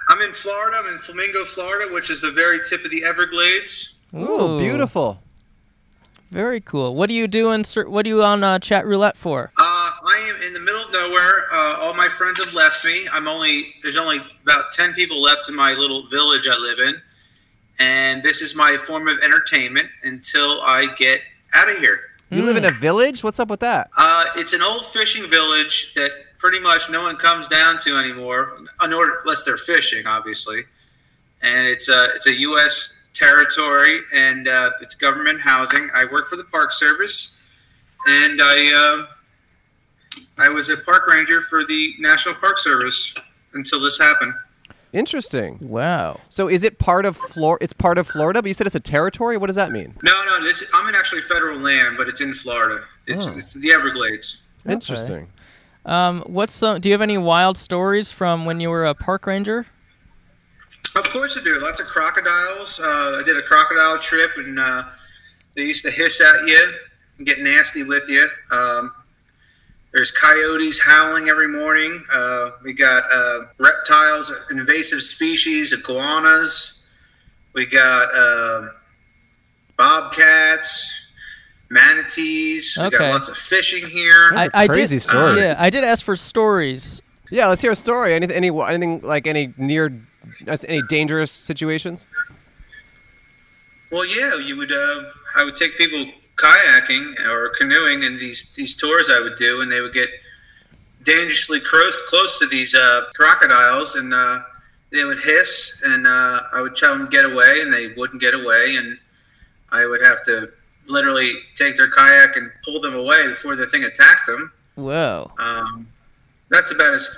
Speaker 8: I'm in Florida. I'm in Flamingo, Florida, which is the very tip of the Everglades.
Speaker 1: Ooh, beautiful.
Speaker 2: Very cool. What are you doing sir what are you on uh, chat roulette for?
Speaker 8: Uh, I am in the middle of nowhere. Uh, all my friends have left me. I'm only there's only about ten people left in my little village I live in, and this is my form of entertainment until I get out of here.
Speaker 1: You live in
Speaker 2: Hmm.
Speaker 1: a village? What's up with that?
Speaker 8: Uh, it's an old fishing village that pretty much no one comes down to anymore, unor- unless they're fishing, obviously. And it's a it's a U.S. territory, and uh, it's government housing. I work for the Park Service, and I uh, I was a park ranger for the National Park Service until this happened.
Speaker 1: Interesting.
Speaker 2: Wow.
Speaker 1: So is it part of Flor? It's part of Florida, but you said it's a territory. What does that mean?
Speaker 8: No, no, this I'm in actually federal land, but it's in Florida. It's
Speaker 1: Oh.
Speaker 8: it's the Everglades.
Speaker 1: Interesting.
Speaker 2: Um what's some do you have any wild stories from when you were a park ranger?
Speaker 8: Of course I do. Lots of crocodiles. Uh, I did a crocodile trip, and uh, they used to hiss at you and get nasty with you. Um, there's coyotes howling every morning. Uh, we got uh, reptiles, invasive species, iguanas. We got uh, bobcats, manatees. We
Speaker 2: Okay.
Speaker 8: got lots of fishing here.
Speaker 1: Those are crazy
Speaker 2: did,
Speaker 1: stories.
Speaker 2: Yeah, I did ask for stories.
Speaker 1: Yeah, let's hear a story. Any, any, anything like any near, uh, any dangerous situations?
Speaker 8: Well, yeah, you would. Uh, I would take people kayaking or canoeing, and these these tours I would do, and they would get dangerously close close to these uh, crocodiles, and uh, they would hiss, and uh, I would tell them get away, and they wouldn't get away, and I would have to literally take their kayak and pull them away before the thing attacked them.
Speaker 2: Whoa.
Speaker 8: Um, that's about as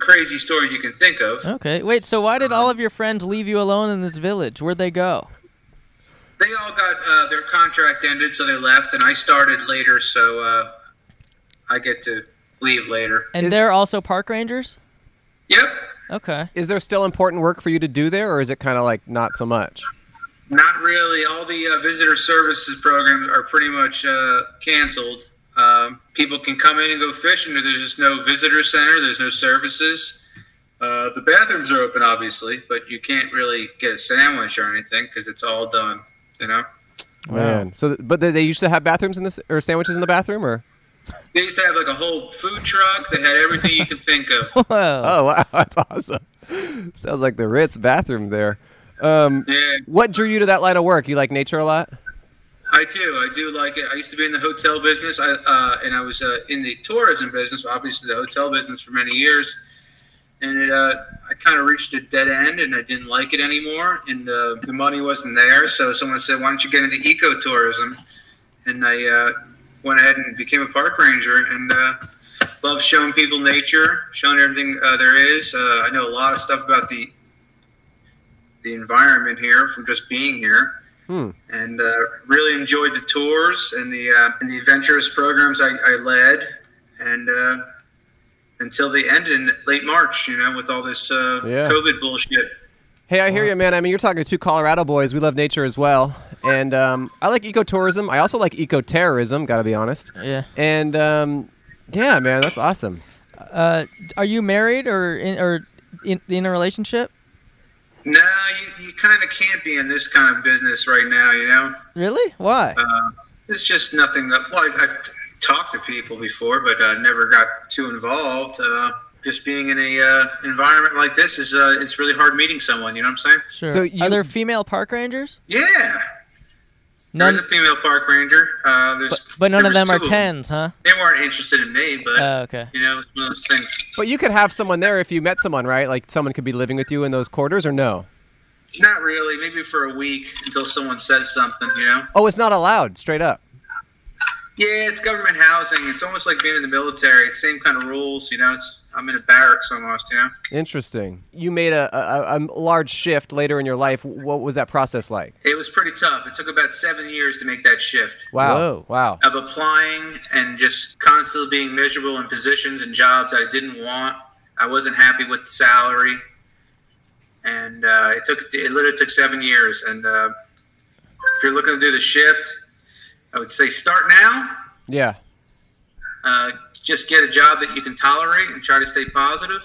Speaker 8: crazy stories you can think of.
Speaker 2: Okay. Wait, so why did all of your friends leave you alone in this village? Where'd they go?
Speaker 8: they all got uh, their contract ended, so they left, and I started later, so uh, I get to leave later.
Speaker 2: And they're also park rangers?
Speaker 8: Yep,
Speaker 2: Okay.
Speaker 1: Is there still important work for you to do there, or is it kind of like not so much?
Speaker 8: not really. All the uh, visitor services programs are pretty much uh, canceled. Um, people can come in and go fishing, and there's just no visitor center. There's no services. Uh, the bathrooms are open, obviously, but you can't really get a sandwich or anything because it's all done. You know,
Speaker 1: Man. So, th- but they, they used to have bathrooms in this, or sandwiches in the bathroom, or?
Speaker 8: they used to have like a whole food truck. They had everything you could think of.
Speaker 2: Whoa.
Speaker 1: Oh wow, that's awesome. Sounds like the Ritz bathroom there. Um,
Speaker 8: Yeah.
Speaker 1: what drew you to that line of work? You like nature a lot?
Speaker 8: I do. I do like it. I used to be in the hotel business, I, uh, and I was uh, in the tourism business, obviously the hotel business for many years. And it, uh, I kind of reached a dead end, and I didn't like it anymore, and uh, the money wasn't there. So someone said, "Why don't you get into ecotourism?" And I uh, went ahead and became a park ranger, and uh, love showing people nature, showing everything uh, there is. Uh, I know a lot of stuff about the the environment here from just being here.
Speaker 1: Hmm.
Speaker 8: And uh, really enjoyed the tours and the uh, and the adventurous programs I, I led, and uh, until they ended in late March, you know, with all this uh,
Speaker 1: Yeah.
Speaker 8: COVID bullshit.
Speaker 1: Hey, I
Speaker 2: Uh-huh.
Speaker 1: hear you, man. I mean, you're talking to two Colorado boys. We love nature as well, and um, I like ecotourism. I also like ecoterrorism. Got to be honest.
Speaker 2: Yeah.
Speaker 1: And um, yeah, man, that's awesome.
Speaker 2: Uh, are you married or in, or in, in a relationship?
Speaker 8: No, you, you kind of can't be in this kind of business right now, you know.
Speaker 2: Really? Why?
Speaker 8: Uh, it's just nothing. That, well, I've, I've talked to people before, but uh, never got too involved. Uh, just being in a uh, environment like this is uh, it's really hard meeting someone. You know what I'm saying?
Speaker 2: Sure.
Speaker 1: so
Speaker 2: are
Speaker 1: you-
Speaker 2: there female park rangers?
Speaker 8: Yeah. There's
Speaker 2: None.
Speaker 8: a female park ranger. Uh, there's,
Speaker 2: But, but none
Speaker 8: there
Speaker 2: of
Speaker 8: was
Speaker 2: them are
Speaker 8: two
Speaker 2: tens, huh?
Speaker 8: They weren't interested in me, but
Speaker 2: Oh, okay.
Speaker 8: you know, it's one of those things.
Speaker 1: But you could have someone there if you met someone, right? Like someone could be living with you in those quarters, or no?
Speaker 8: Not really. Maybe for a week until someone says something. You know?
Speaker 1: Oh, it's not allowed. Straight up.
Speaker 8: Yeah, it's government housing. It's almost like being in the military. It's same kind of rules. You know, it's I'm in a barracks almost. You know.
Speaker 1: Interesting. You made a, a, a- a large shift later in your life. What was that process like?
Speaker 8: It was pretty tough. It took about seven years to make that shift
Speaker 1: Wow.
Speaker 2: Whoa.
Speaker 1: Wow.
Speaker 8: of applying and just constantly being miserable in positions and jobs I didn't want. I wasn't happy with the salary, and uh, it took it literally took seven years. And uh, if you're looking to do the shift, I would say start now.
Speaker 1: Yeah.
Speaker 8: Uh, just get a job that you can tolerate and try to stay positive,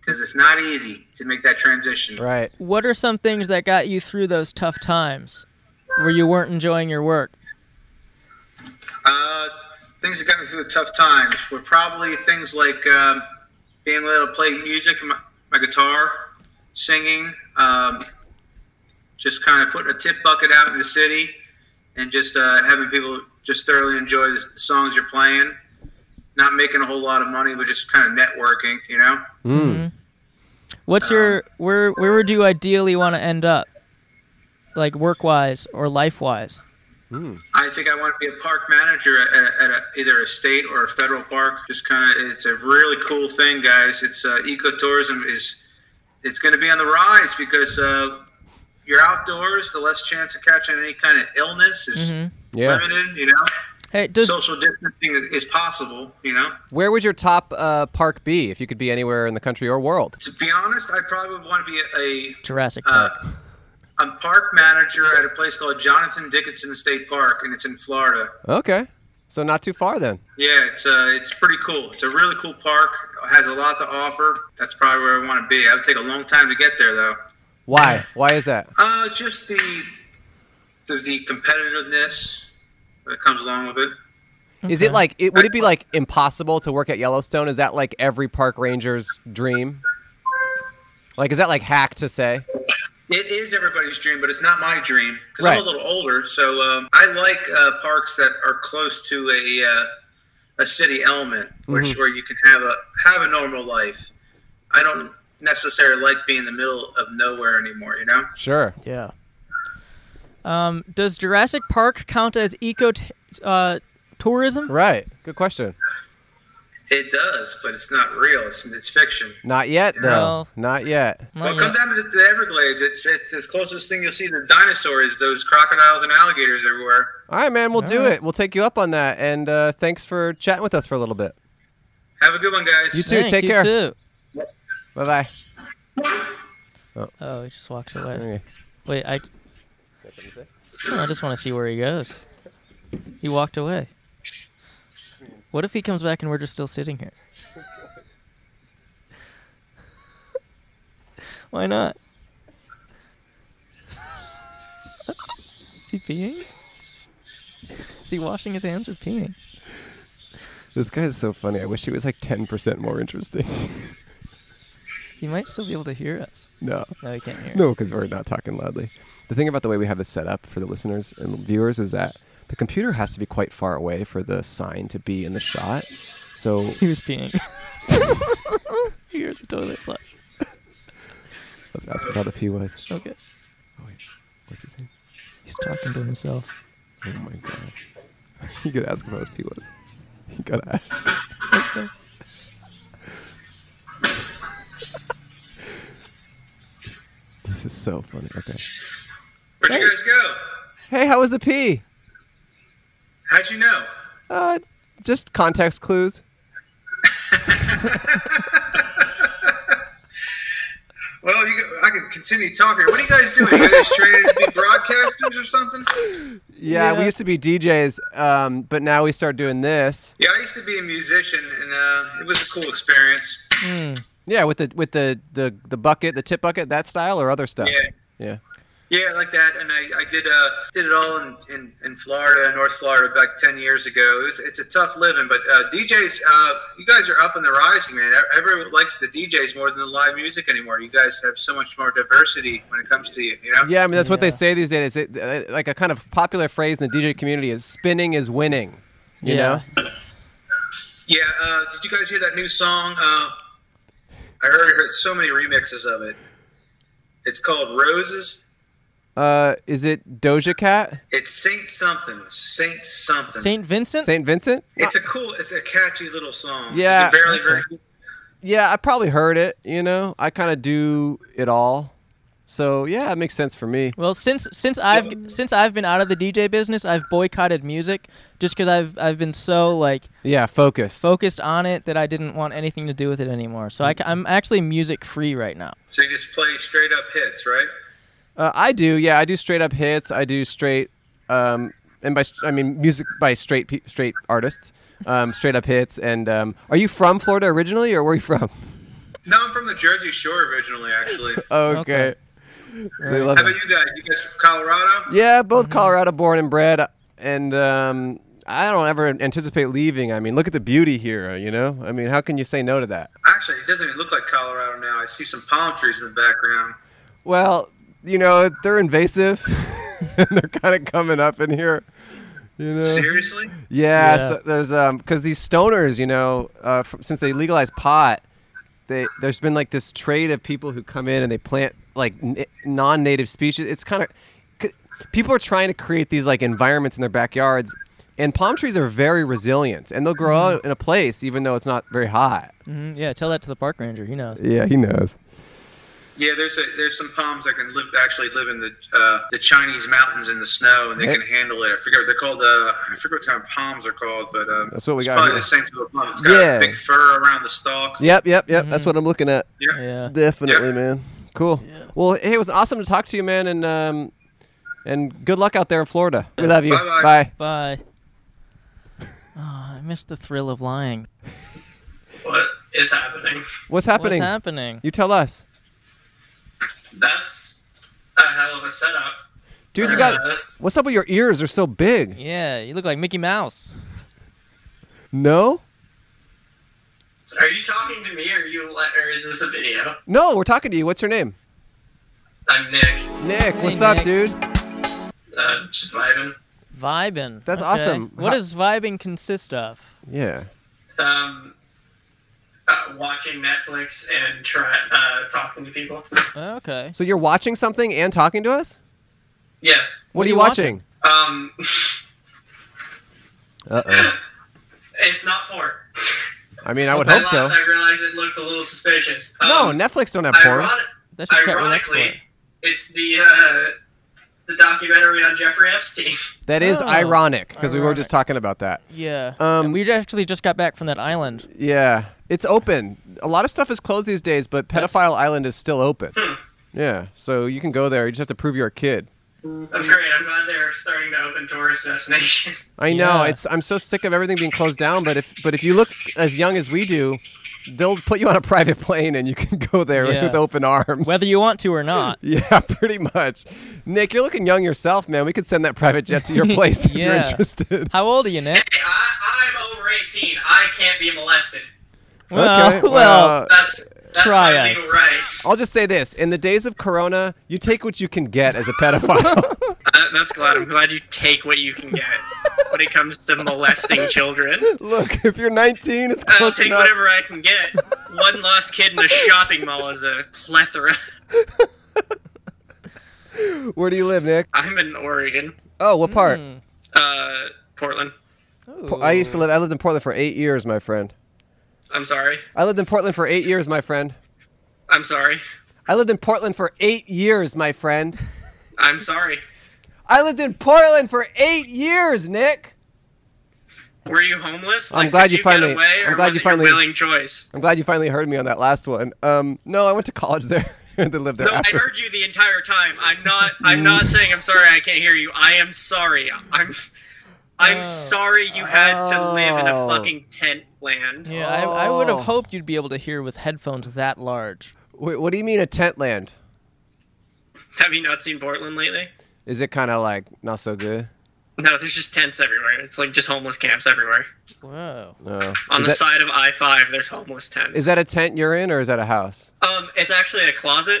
Speaker 8: because it's not easy to make that transition.
Speaker 1: Right.
Speaker 2: What are some things that got you through those tough times where you weren't enjoying your work?
Speaker 8: Uh, things that got me through the tough times were probably things like um, being able to play music, my, my guitar, singing, um, just kind of putting a tip bucket out in the city, and just uh, having people just thoroughly enjoy the, the songs you're playing. Not making a whole lot of money, but just kind of networking, you know.
Speaker 1: Mm.
Speaker 2: Hmm? What's your where where would you ideally want to end up? Like work wise or life wise?
Speaker 1: Hmm.
Speaker 8: I think I want to be a park manager at, a- at a, either a state or a federal park. Just kind of, it's a really cool thing, guys. It's uh, ecotourism is, it's going to be on the rise because uh, you're outdoors. The less chance of catching any kind of illness is
Speaker 2: Mhm.
Speaker 1: Yeah.
Speaker 8: limited. You know,
Speaker 2: Hey, does
Speaker 8: social distancing is possible. You know,
Speaker 1: Where would your top uh, park be if you could be anywhere in the country or world?
Speaker 8: to be honest, I probably want to be
Speaker 2: Jurassic
Speaker 8: a, a
Speaker 2: Park?
Speaker 8: I'm park manager at a place called Jonathan Dickinson State Park, and it's in Florida.
Speaker 1: Okay. So not too far then.
Speaker 8: Yeah, it's uh, it's pretty cool. It's a really cool park. It has a lot to offer. That's probably where I want to be. I would take a long time to get there though.
Speaker 1: Why? Why is that?
Speaker 8: Uh, just the the, the competitiveness that comes along with it.
Speaker 1: Is it like it would it be like impossible to work at Yellowstone? Is that like every park ranger's dream? Like is that like hack to say?
Speaker 8: It is everybody's dream, but it's not my dream because I'm
Speaker 1: Right.
Speaker 8: a little older. So um, I like uh, parks that are close to a uh, a city element, which
Speaker 1: Mhm.
Speaker 8: where you can have a have a normal life. I don't necessarily like being in the middle of nowhere anymore. You know.
Speaker 1: Sure.
Speaker 2: Yeah. Um, does Jurassic Park count as eco t- uh, tourism?
Speaker 1: Right. Good question.
Speaker 8: It does, but it's not real. It's, it's fiction.
Speaker 1: Not yet though.
Speaker 2: Well-
Speaker 1: Not yet.
Speaker 2: Not
Speaker 8: Well, come
Speaker 2: yet.
Speaker 8: down to the Everglades. It's, it's as closest thing you'll see to dinosaurs, those crocodiles and alligators everywhere.
Speaker 1: All right, man, we'll do
Speaker 2: right.
Speaker 1: it. We'll take you up on that. And uh, thanks for chatting with us for a little bit.
Speaker 8: Have a good one, guys.
Speaker 1: You too.
Speaker 2: Thanks,
Speaker 1: Take
Speaker 2: you
Speaker 1: care.
Speaker 2: too.
Speaker 1: Bye bye.
Speaker 2: Oh, he just walks away. Wait, I. No, I just want to see where he goes. He walked away. What if he comes back and we're just still sitting here? Why not? Is he peeing? Is he washing his hands or peeing?
Speaker 1: This guy is so funny. I wish he was like ten percent more interesting.
Speaker 2: He might still be able to hear us.
Speaker 1: no.
Speaker 2: No, he can't hear.
Speaker 1: No, because we're not talking loudly. The thing about the way we have this set up for the listeners and viewers is that the computer has to be quite far away for the sign to be in the shot. So
Speaker 2: He was peeing. he heard the toilet flush.
Speaker 1: let's ask him how the pee was.
Speaker 2: Okay.
Speaker 1: Oh, wait. What's his name?
Speaker 2: He's talking to himself.
Speaker 1: Oh my god. you gotta ask him how his pee was. You gotta ask. this is so funny. Okay.
Speaker 8: Where'd you guys go?
Speaker 1: Hey, how was the pee?
Speaker 8: How'd you know?
Speaker 1: Uh, just context clues.
Speaker 8: Well, you go, I can continue talking. What are you guys doing? You guys training to be broadcasters or something?
Speaker 1: Yeah,
Speaker 2: Yeah.
Speaker 1: we used to be DJs, um, but now we start doing this.
Speaker 8: Yeah, I used to be a musician, and uh, it was a cool experience.
Speaker 2: Hmm.
Speaker 1: Yeah, with the with the the, the bucket, the tip bucket, that style or other stuff.
Speaker 8: Yeah.
Speaker 1: Yeah.
Speaker 8: Yeah, like that, and I, I did uh, did it all in, in, in Florida, North Florida, back ten years ago. It was, it's a tough living, but uh, DJs, uh, you guys are up in the rising, man. E, Everyone likes the DJs more than the live music anymore. You guys have so much more diversity when it comes to you. You know?
Speaker 1: Yeah, I mean that's what they
Speaker 2: Yeah.
Speaker 1: say these days. It, uh, like a kind of popular phrase in the DJ community is "spinning is winning." You
Speaker 2: yeah.
Speaker 1: know?
Speaker 8: Yeah. Uh, did you guys hear that new song? Uh, I heard, heard so many remixes of it. It's called Roses.
Speaker 1: Uh, is it Doja Cat?
Speaker 8: It's Saint something. Saint something.
Speaker 2: Saint Vincent.
Speaker 1: Saint Vincent?
Speaker 8: It's a cool. It's a catchy little song.
Speaker 1: Yeah.
Speaker 8: You can barely heard.
Speaker 1: Yeah, I probably heard it. You know, I kind of do it all, so yeah, it makes sense for me.
Speaker 2: Well, since since I've since I've been out of the DJ business, I've boycotted music just because I've I've been so like
Speaker 1: Yeah, focus.
Speaker 2: focused on it that I didn't want anything to do with it anymore. So I,
Speaker 1: Mm.
Speaker 2: am actually music free right now.
Speaker 8: So you just play straight up hits, right?
Speaker 1: Uh, I do. Yeah, I do straight up hits. I do straight, um, and by st- I mean music by straight pe- straight artists, um, straight up hits. And um, are you from Florida originally, or where are you from?
Speaker 8: No, I'm from the Jersey Shore originally, actually.
Speaker 1: Okay. They love
Speaker 8: How about you guys? You guys from Colorado?
Speaker 1: Yeah, both Colorado born and bred, and um, I don't ever anticipate leaving. I mean, look at the beauty here. You know, I mean, how can you say no to that?
Speaker 8: Actually, it doesn't even look like Colorado now. I see some palm trees in the background.
Speaker 1: Well, you know, they're invasive. and they're kind of coming up in here. You know.
Speaker 8: Seriously?
Speaker 1: Yeah,
Speaker 2: Yeah.
Speaker 1: So there's um because these stoners, you know, uh, f- since they legalized pot, they there's been like this trade of people who come in and they plant like n- non-native species. It's kind of c- people are trying to create these like environments in their backyards, and palm trees are very resilient and they'll grow out in a place even though it's not very hot.
Speaker 2: Mhm, Yeah, tell that to the park ranger. He knows.
Speaker 1: Yeah, he knows.
Speaker 8: Yeah, there's a, there's some palms that can live actually live in the uh, the Chinese mountains in the snow, and they
Speaker 1: Hey.
Speaker 8: can handle it. I forget what they're called. Uh, I forget what kind of palms are called, but um,
Speaker 1: That's what we
Speaker 8: it's
Speaker 1: got
Speaker 8: Probably
Speaker 1: here.
Speaker 8: the same type of palm. It's got
Speaker 1: Yeah.
Speaker 8: a big fur around the stalk.
Speaker 1: Yep, yep, yep. That's what I'm looking at.
Speaker 8: Yeah.
Speaker 2: Mm-hmm. Yeah.
Speaker 1: Definitely,
Speaker 8: Yeah.
Speaker 1: man. Cool. Well, hey, it was awesome to talk to you, man, and um, and good luck out there in Florida. We love you.
Speaker 8: Bye-bye.
Speaker 1: Bye.
Speaker 2: Bye. Ah, I missed the thrill of lying.
Speaker 9: What is happening?
Speaker 1: What's happening?
Speaker 2: What's happening?
Speaker 1: You tell us,
Speaker 9: That's a hell of a setup.
Speaker 1: dude. You got
Speaker 9: Uh,
Speaker 1: what's up with your ears? They're so big.
Speaker 2: Yeah, you look like Mickey Mouse.
Speaker 1: No,
Speaker 9: are you talking to me, or you, le- or is this a video?
Speaker 1: no. We're talking to you. What's your name?
Speaker 9: I'm Nick.
Speaker 1: Nick.
Speaker 2: Hey,
Speaker 1: what's up,
Speaker 2: Nick.
Speaker 1: dude?
Speaker 9: Uh, just vibing.
Speaker 2: Vibin.
Speaker 1: That's
Speaker 2: Okay.
Speaker 1: awesome.
Speaker 2: What
Speaker 1: Hi-
Speaker 2: does vibing consist of?
Speaker 1: Yeah.
Speaker 9: Um, uh, watching Netflix and try uh, talking to people.
Speaker 2: Okay.
Speaker 1: So you're watching something and talking to us?
Speaker 9: Yeah.
Speaker 1: What, are you watching?
Speaker 9: Um,
Speaker 1: Uh oh.
Speaker 9: it's not porn.
Speaker 1: I mean, I would
Speaker 9: I
Speaker 1: hope so.
Speaker 9: laughed, I realized it looked a little suspicious.
Speaker 1: No,
Speaker 9: Um,
Speaker 1: Netflix don't have porn.
Speaker 9: ironic-
Speaker 2: That's your chat room expert.
Speaker 9: Ironically, it's the uh, the documentary on Jeffrey Epstein.
Speaker 1: That is
Speaker 2: Oh.
Speaker 1: ironic because we were just
Speaker 2: Ironic.
Speaker 1: talking about that.
Speaker 2: Yeah.
Speaker 1: Um,
Speaker 2: we actually just got back from that island.
Speaker 1: Yeah, it's open. A lot of stuff is closed these days, but Pedophile Island is still open. Yeah, so you can go there. You just have to prove you're a kid.
Speaker 9: That's great. I'm glad they're starting to open tourist destinations.
Speaker 1: I know.
Speaker 2: Yeah.
Speaker 1: It's I'm so sick of everything being closed down. But if but if you look as young as we do, they'll put you on a private plane and you can go there
Speaker 2: Yeah.
Speaker 1: with open arms.
Speaker 2: Whether you want to or not.
Speaker 1: yeah, pretty much. Nick, you're looking young yourself, man. We could send that private jet to your place if you're
Speaker 2: Yeah.
Speaker 1: interested.
Speaker 2: How old are you, Nick?
Speaker 9: Hey, I, I'm over 18. I can't be molested.
Speaker 2: Well,
Speaker 1: okay,
Speaker 2: well,
Speaker 9: That's that's
Speaker 2: Try
Speaker 9: my
Speaker 2: us.
Speaker 9: legal right.
Speaker 1: I'll just say this: in the days of Corona, you take what you can get as a pedophile.
Speaker 9: Uh, that's glad. I'm glad you take what you can get when it comes to molesting children.
Speaker 1: look, if you're 19, it's
Speaker 9: I'll
Speaker 1: close
Speaker 9: take
Speaker 1: enough.
Speaker 9: whatever I can get. One lost kid in a shopping mall is a plethora.
Speaker 1: Where do you live, Nick?
Speaker 9: I'm in Oregon,
Speaker 1: Oh, what part?
Speaker 2: Hmm.
Speaker 9: uh, Portland.
Speaker 1: Po- I used to live. I lived in Portland for eight years, my friend.
Speaker 9: I'm sorry.
Speaker 1: I lived in Portland for eight years, my friend.
Speaker 9: I'm sorry.
Speaker 1: I lived in Portland for eight years, my friend.
Speaker 9: I'm sorry.
Speaker 1: I lived in Portland for eight years, Nick.
Speaker 9: Were you homeless?
Speaker 1: I'm
Speaker 9: Like,
Speaker 1: glad
Speaker 9: did
Speaker 1: you
Speaker 9: you get
Speaker 1: finally-
Speaker 9: away,
Speaker 1: I'm
Speaker 9: or
Speaker 1: glad
Speaker 9: was
Speaker 1: you
Speaker 9: it your
Speaker 1: finally-
Speaker 9: willing choice.
Speaker 1: I'm glad you finally heard me on that last one. Um, no, I went to college there and then lived there
Speaker 9: No, I
Speaker 1: after.
Speaker 9: heard you the entire time. I'm not. Uh, I'm not saying I'm sorry. I can't hear you. I am sorry. I'm. I'm sorry you had to live in a
Speaker 1: Oh.
Speaker 9: fucking tent land.
Speaker 2: Yeah, I, I would
Speaker 1: Oh.
Speaker 2: have hoped you'd be able to hear with headphones that large.
Speaker 1: Wait, what do you mean a tent land?
Speaker 9: Have you not seen Portland lately?
Speaker 1: Is it kind of like not so good?
Speaker 9: No, there's just tents everywhere. It's like just homeless camps everywhere.
Speaker 2: Whoa.
Speaker 1: No.
Speaker 9: On
Speaker 1: is,
Speaker 9: the
Speaker 1: that,
Speaker 9: side of I five, there's homeless tents.
Speaker 1: is that a tent you're in or is that a house?
Speaker 9: Um, it's actually a closet.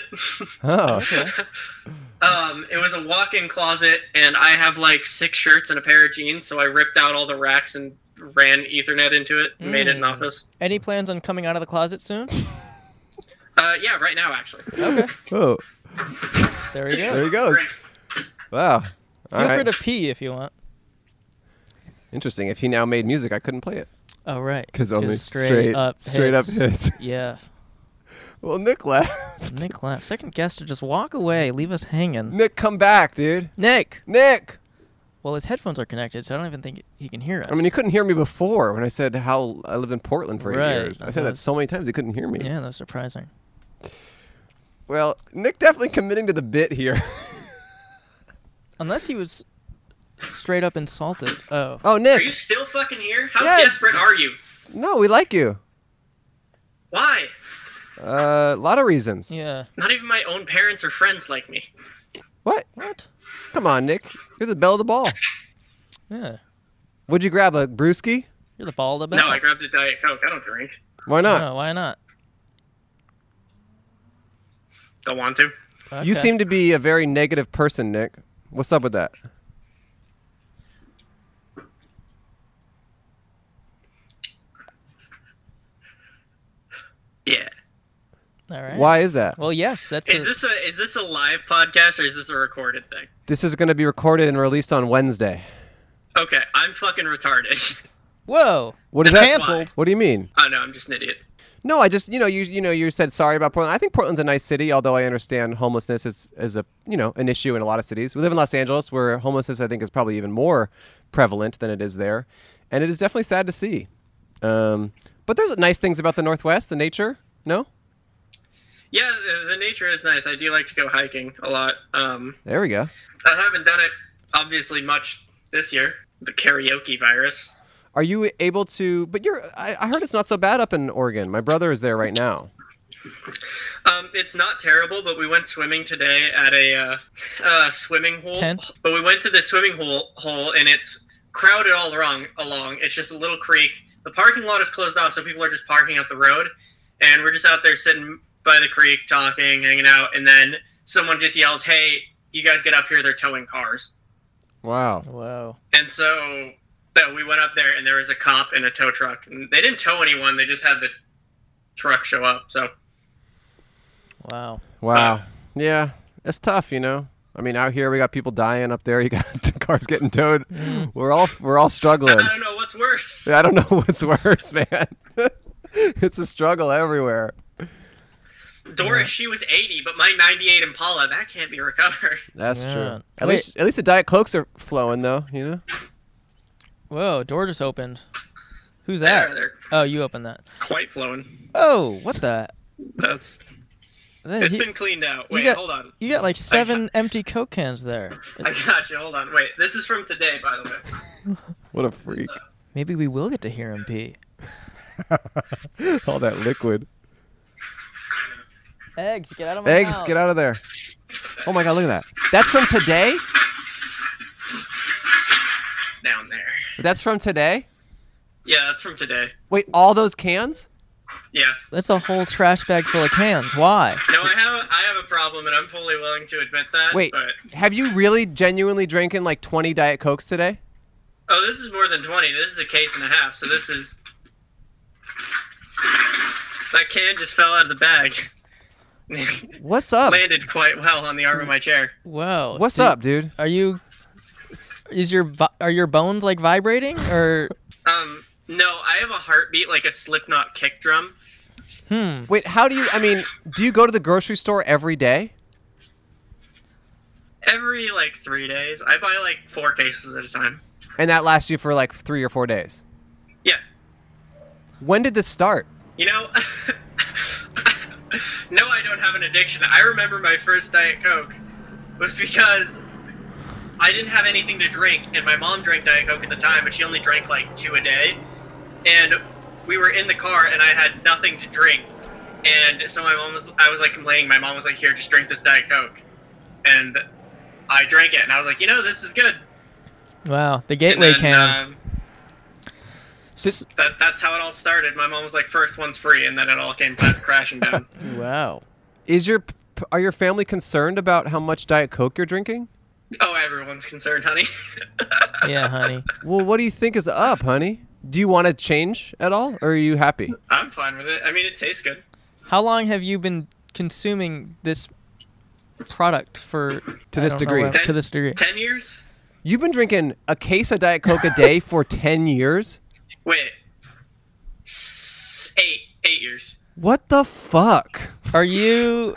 Speaker 1: Oh,
Speaker 9: um, it was a walk-in closet, and I have like six shirts and a pair of jeans, so I ripped out all the racks and ran Ethernet into it, and made it an
Speaker 2: Mm.
Speaker 9: office.
Speaker 2: Any plans on coming out of the closet soon?
Speaker 9: Uh, yeah, right now actually.
Speaker 1: oh,
Speaker 2: There you go.
Speaker 1: there you go. Wow. All
Speaker 2: Feel free
Speaker 1: right.
Speaker 2: to pee if you want.
Speaker 1: Interesting. If he now made music, I couldn't play it
Speaker 2: Oh right.
Speaker 1: because only
Speaker 2: straight,
Speaker 1: straight,
Speaker 2: up.
Speaker 1: straight
Speaker 2: hits.
Speaker 1: up hits.
Speaker 2: Yeah.
Speaker 1: well, Nick left.
Speaker 2: Nick left. Second guest to just walk away, leave us hanging.
Speaker 1: Nick, come back, dude.
Speaker 2: Nick.
Speaker 1: Nick.
Speaker 2: Well, his headphones are connected, so I don't even think he can hear us.
Speaker 1: I mean, he couldn't hear me before when I said how I lived in Portland for eight
Speaker 2: Right.
Speaker 1: years. I said
Speaker 2: Uh-huh.
Speaker 1: that so many times he couldn't hear me.
Speaker 2: yeah, that's surprising.
Speaker 1: Well, Nick definitely committing to the bit here.
Speaker 2: Unless he was straight up insulted. Oh,
Speaker 1: oh,
Speaker 9: Are you
Speaker 1: Nick.
Speaker 9: still fucking here? How
Speaker 1: Yeah.
Speaker 9: desperate are you?
Speaker 1: No, we like you. Uh,
Speaker 9: Why?
Speaker 1: A lot of reasons.
Speaker 2: yeah.
Speaker 9: Not even my own parents or friends like me.
Speaker 1: What?
Speaker 2: What?
Speaker 1: Come on, Nick. You're the bell of the ball.
Speaker 2: Yeah.
Speaker 1: Would you grab a brewski?
Speaker 2: You're the ball of the
Speaker 9: No,
Speaker 2: bell.
Speaker 9: I grabbed a diet coke. I don't drink.
Speaker 1: Why not?
Speaker 2: No, why not?
Speaker 9: Don't want to.
Speaker 1: You
Speaker 2: Okay.
Speaker 1: seem to be a very negative person, Nick. What's up with that?
Speaker 9: Yeah.
Speaker 2: All right.
Speaker 1: Why is that?
Speaker 2: Well, yes, that's
Speaker 9: Is
Speaker 2: a-
Speaker 9: this a is this a live podcast or is this a recorded thing?
Speaker 1: This is going to be recorded and released on Wednesday.
Speaker 9: Okay, I'm fucking retarded.
Speaker 2: Whoa.
Speaker 1: What is that?
Speaker 9: That's why.
Speaker 2: Canceled.
Speaker 1: What do you mean?
Speaker 9: I know I'm just an idiot.
Speaker 1: No, I just you know you you know you said sorry about Portland. I think Portland's a nice city, although I understand homelessness is is a you know an issue in a lot of cities. We live in Los Angeles, where homelessness I think is probably even more prevalent than it is there, and it is definitely sad to see. Um, but there's nice things about the Northwest, the nature. No,
Speaker 9: Yeah, the, the nature is nice. I do like to go hiking a lot. Um,
Speaker 1: there we go.
Speaker 9: I haven't done it obviously much this year. The karaoke virus.
Speaker 1: Are you able to? But you're. I, I heard it's not so bad up in Oregon. My brother is there right now.
Speaker 9: Um, it's not terrible, but we went swimming today at a uh, uh, swimming hole.
Speaker 2: Tent?
Speaker 9: But we went to the swimming hole hole, and it's crowded all along. Along, it's just a little creek. The parking lot is closed off, so people are just parking up the road, and we're just out there sitting by the creek, talking, hanging out, and then someone just yells, "Hey, you guys get up here! They're towing cars!"
Speaker 1: Wow.
Speaker 2: Whoa.
Speaker 9: And so, so we went up there, and there was a cop and a tow truck, and they didn't tow anyone. They just had the truck show up. So
Speaker 2: Wow.
Speaker 9: Uh,
Speaker 1: Wow. Yeah, it's tough, you know. I mean, out here we got people dying. Up there, you got the cars getting towed.
Speaker 2: Mm.
Speaker 1: We're all we're all struggling.
Speaker 9: I don't know what's worse.
Speaker 1: I don't know what's worse, man. it's a struggle everywhere.
Speaker 9: Doris, she was 80, but my 98 Impala, that can't be recovered.
Speaker 1: That's
Speaker 2: Yeah.
Speaker 1: true. At
Speaker 2: Wait.
Speaker 1: least at least the diet cokes are flowing though, you know.
Speaker 2: Whoa. Door just opened. Who's
Speaker 9: There,
Speaker 2: that?
Speaker 9: they're
Speaker 2: Oh, you opened that.
Speaker 9: quite flowing.
Speaker 2: Oh, what the?
Speaker 9: That's
Speaker 2: Hey,
Speaker 9: it's
Speaker 2: he-
Speaker 9: been cleaned out. Wait,
Speaker 2: got-
Speaker 9: hold on.
Speaker 2: you got like seven empty Coke cans there.
Speaker 9: I got you. Hold on. Wait, this is from today, by the way.
Speaker 1: What a freak!
Speaker 2: Maybe we will get to hear him pee.
Speaker 1: all that liquid.
Speaker 2: Eggs, get out of my
Speaker 1: Eggs, get out of there. Oh my god, look at that. That's from today.
Speaker 9: Down there.
Speaker 1: That's from today.
Speaker 9: Yeah, that's from today.
Speaker 1: Wait, all those cans?
Speaker 9: Yeah.
Speaker 2: That's a whole trash bag full of cans. Why?
Speaker 9: No, I have I have a problem, and I'm fully willing to admit that.
Speaker 1: Wait,
Speaker 9: But,
Speaker 1: have you really genuinely drinking like 20 diet cokes today?
Speaker 9: oh, this is more than 20. This is a case and a half. So this is. That can just fell out of the bag.
Speaker 1: What's up?
Speaker 9: Landed quite well on the arm of my chair.
Speaker 2: Whoa.
Speaker 1: What's
Speaker 2: Did-
Speaker 1: up, dude?
Speaker 2: Are you? Is your vi- are your bones like vibrating or?
Speaker 9: Um, no, I have a heartbeat like a Slipknot kick drum,
Speaker 2: Hmm.
Speaker 1: Wait, how do you? I mean, do you go to the grocery store every day?
Speaker 9: Every like three days, I buy like four cases at a time.
Speaker 1: And that lasts you for like three or four days.
Speaker 9: Yeah,
Speaker 1: When did this start?
Speaker 9: you know. no, I don't have an addiction. I remember my first diet coke was because I didn't have anything to drink, and my mom drank diet coke at the time, but she only drank like two a day. And we were in the car, and I had nothing to drink. And so my mom was, I was like complaining. My mom was like, "Here, just drink this diet coke," and I drank it, and I was like, "You know, this is good."
Speaker 2: Wow. The gateway
Speaker 9: and then,
Speaker 2: cam.
Speaker 9: um,
Speaker 2: S-
Speaker 9: that, that's how it all started. My mom was like, first one's free, and then it all came back crashing down.
Speaker 2: wow.
Speaker 1: Is your are your family concerned about how much diet coke you're drinking?
Speaker 9: Oh, everyone's concerned, honey.
Speaker 2: Yeah, honey.
Speaker 1: Well, what do you think is up, honey? Do you want to change at all, or are you happy?
Speaker 9: I'm fine with it. I mean, it tastes good.
Speaker 2: How long have you been consuming this product for
Speaker 1: To
Speaker 2: I
Speaker 1: this
Speaker 2: don't know
Speaker 1: degree.
Speaker 2: what- to this degree?
Speaker 9: Ten years?
Speaker 1: You've been drinking a case of diet coke a day for ten years.
Speaker 9: Wait, S- eight, eight years.
Speaker 1: What the fuck?
Speaker 2: Are you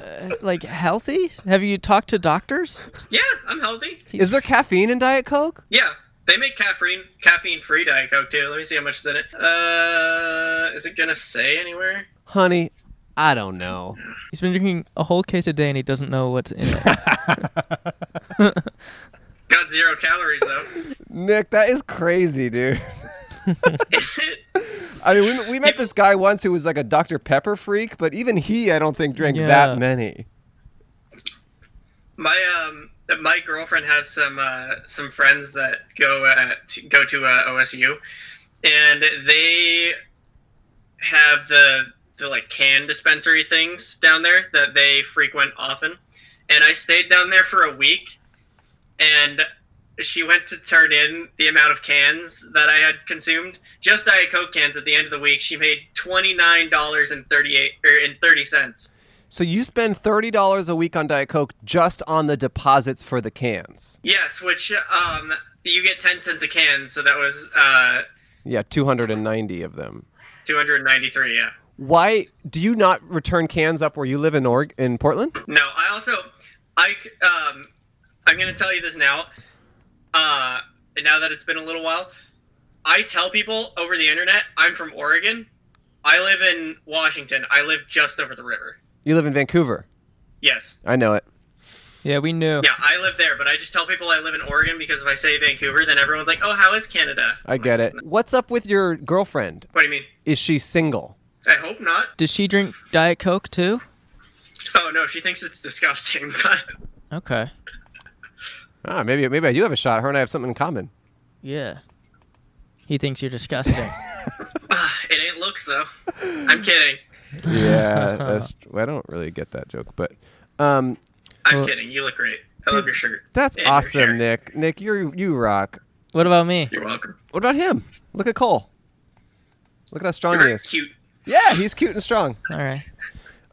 Speaker 2: uh, like healthy? Have you talked to doctors?
Speaker 9: Yeah, I'm healthy.
Speaker 1: Is there caffeine in diet coke?
Speaker 9: Yeah, they make caffeine, caffeine-free diet coke too. Let me see how much is in it. Uh, is it gonna say anywhere?
Speaker 1: Honey, I don't know.
Speaker 2: He's been drinking a whole case a day and he doesn't know what's in it.
Speaker 9: Got zero calories though.
Speaker 1: Nick, that is crazy, dude.
Speaker 9: is it?
Speaker 1: I mean, we, we met this guy once who was like a Dr. Pepper freak, but even he, I don't think, drank
Speaker 2: Yeah.
Speaker 1: that many.
Speaker 9: My um, my girlfriend has some uh, some friends that go uh, t- go to uh, OSU, and they have the the like can dispensary things down there that they frequent often. And I stayed down there for a week, and she went to turn in the amount of cans that I had consumed, just Diet Coke cans. At the end of the week, she made twenty nine dollars and thirty eight or and thirty cents.
Speaker 1: So you spend $30 a week on Diet Coke just on the deposits for the cans.
Speaker 9: Yes, which um, you get ten cents a can, so that was uh,
Speaker 1: Yeah, 290 of them.
Speaker 9: two hundred ninety three. Yeah.
Speaker 1: Why do you not return cans up where you live in Org in Portland?
Speaker 9: No, I also, I c- um, I'm gonna tell you this now. Uh, and now that it's been a little while, I tell people over the internet I'm from Oregon. I live in Washington. I live just over the river.
Speaker 1: You live in Vancouver.
Speaker 9: Yes.
Speaker 1: I know it.
Speaker 2: yeah, we
Speaker 1: Oh.
Speaker 2: knew.
Speaker 9: Yeah, I live there, but I just tell people I live in Oregon because if I say Vancouver, then everyone's like, "Oh, how is Canada?"
Speaker 1: I get it. What's up with your girlfriend?
Speaker 9: What do you mean?
Speaker 1: Is she single?
Speaker 9: I hope not.
Speaker 2: Does she drink Diet Coke too?
Speaker 9: Oh no, she thinks it's disgusting. But
Speaker 2: Okay.
Speaker 1: Ah, maybe maybe I do have a shot. Her and I have something in common.
Speaker 2: Yeah. He thinks you're disgusting.
Speaker 9: it ain't looks though. I'm kidding.
Speaker 1: Yeah, that's, I don't really get that joke, but um,
Speaker 9: I'm
Speaker 2: Well-
Speaker 9: kidding. You look great. I love your shirt.
Speaker 1: That's
Speaker 9: And your hair.
Speaker 1: awesome, Nick. Nick, you you rock.
Speaker 2: what about me?
Speaker 9: You're welcome.
Speaker 1: What about him? Look at Cole. Look at how strong
Speaker 9: You're
Speaker 1: he
Speaker 9: very
Speaker 1: is.
Speaker 9: cute.
Speaker 1: Yeah, he's cute and strong.
Speaker 2: All right.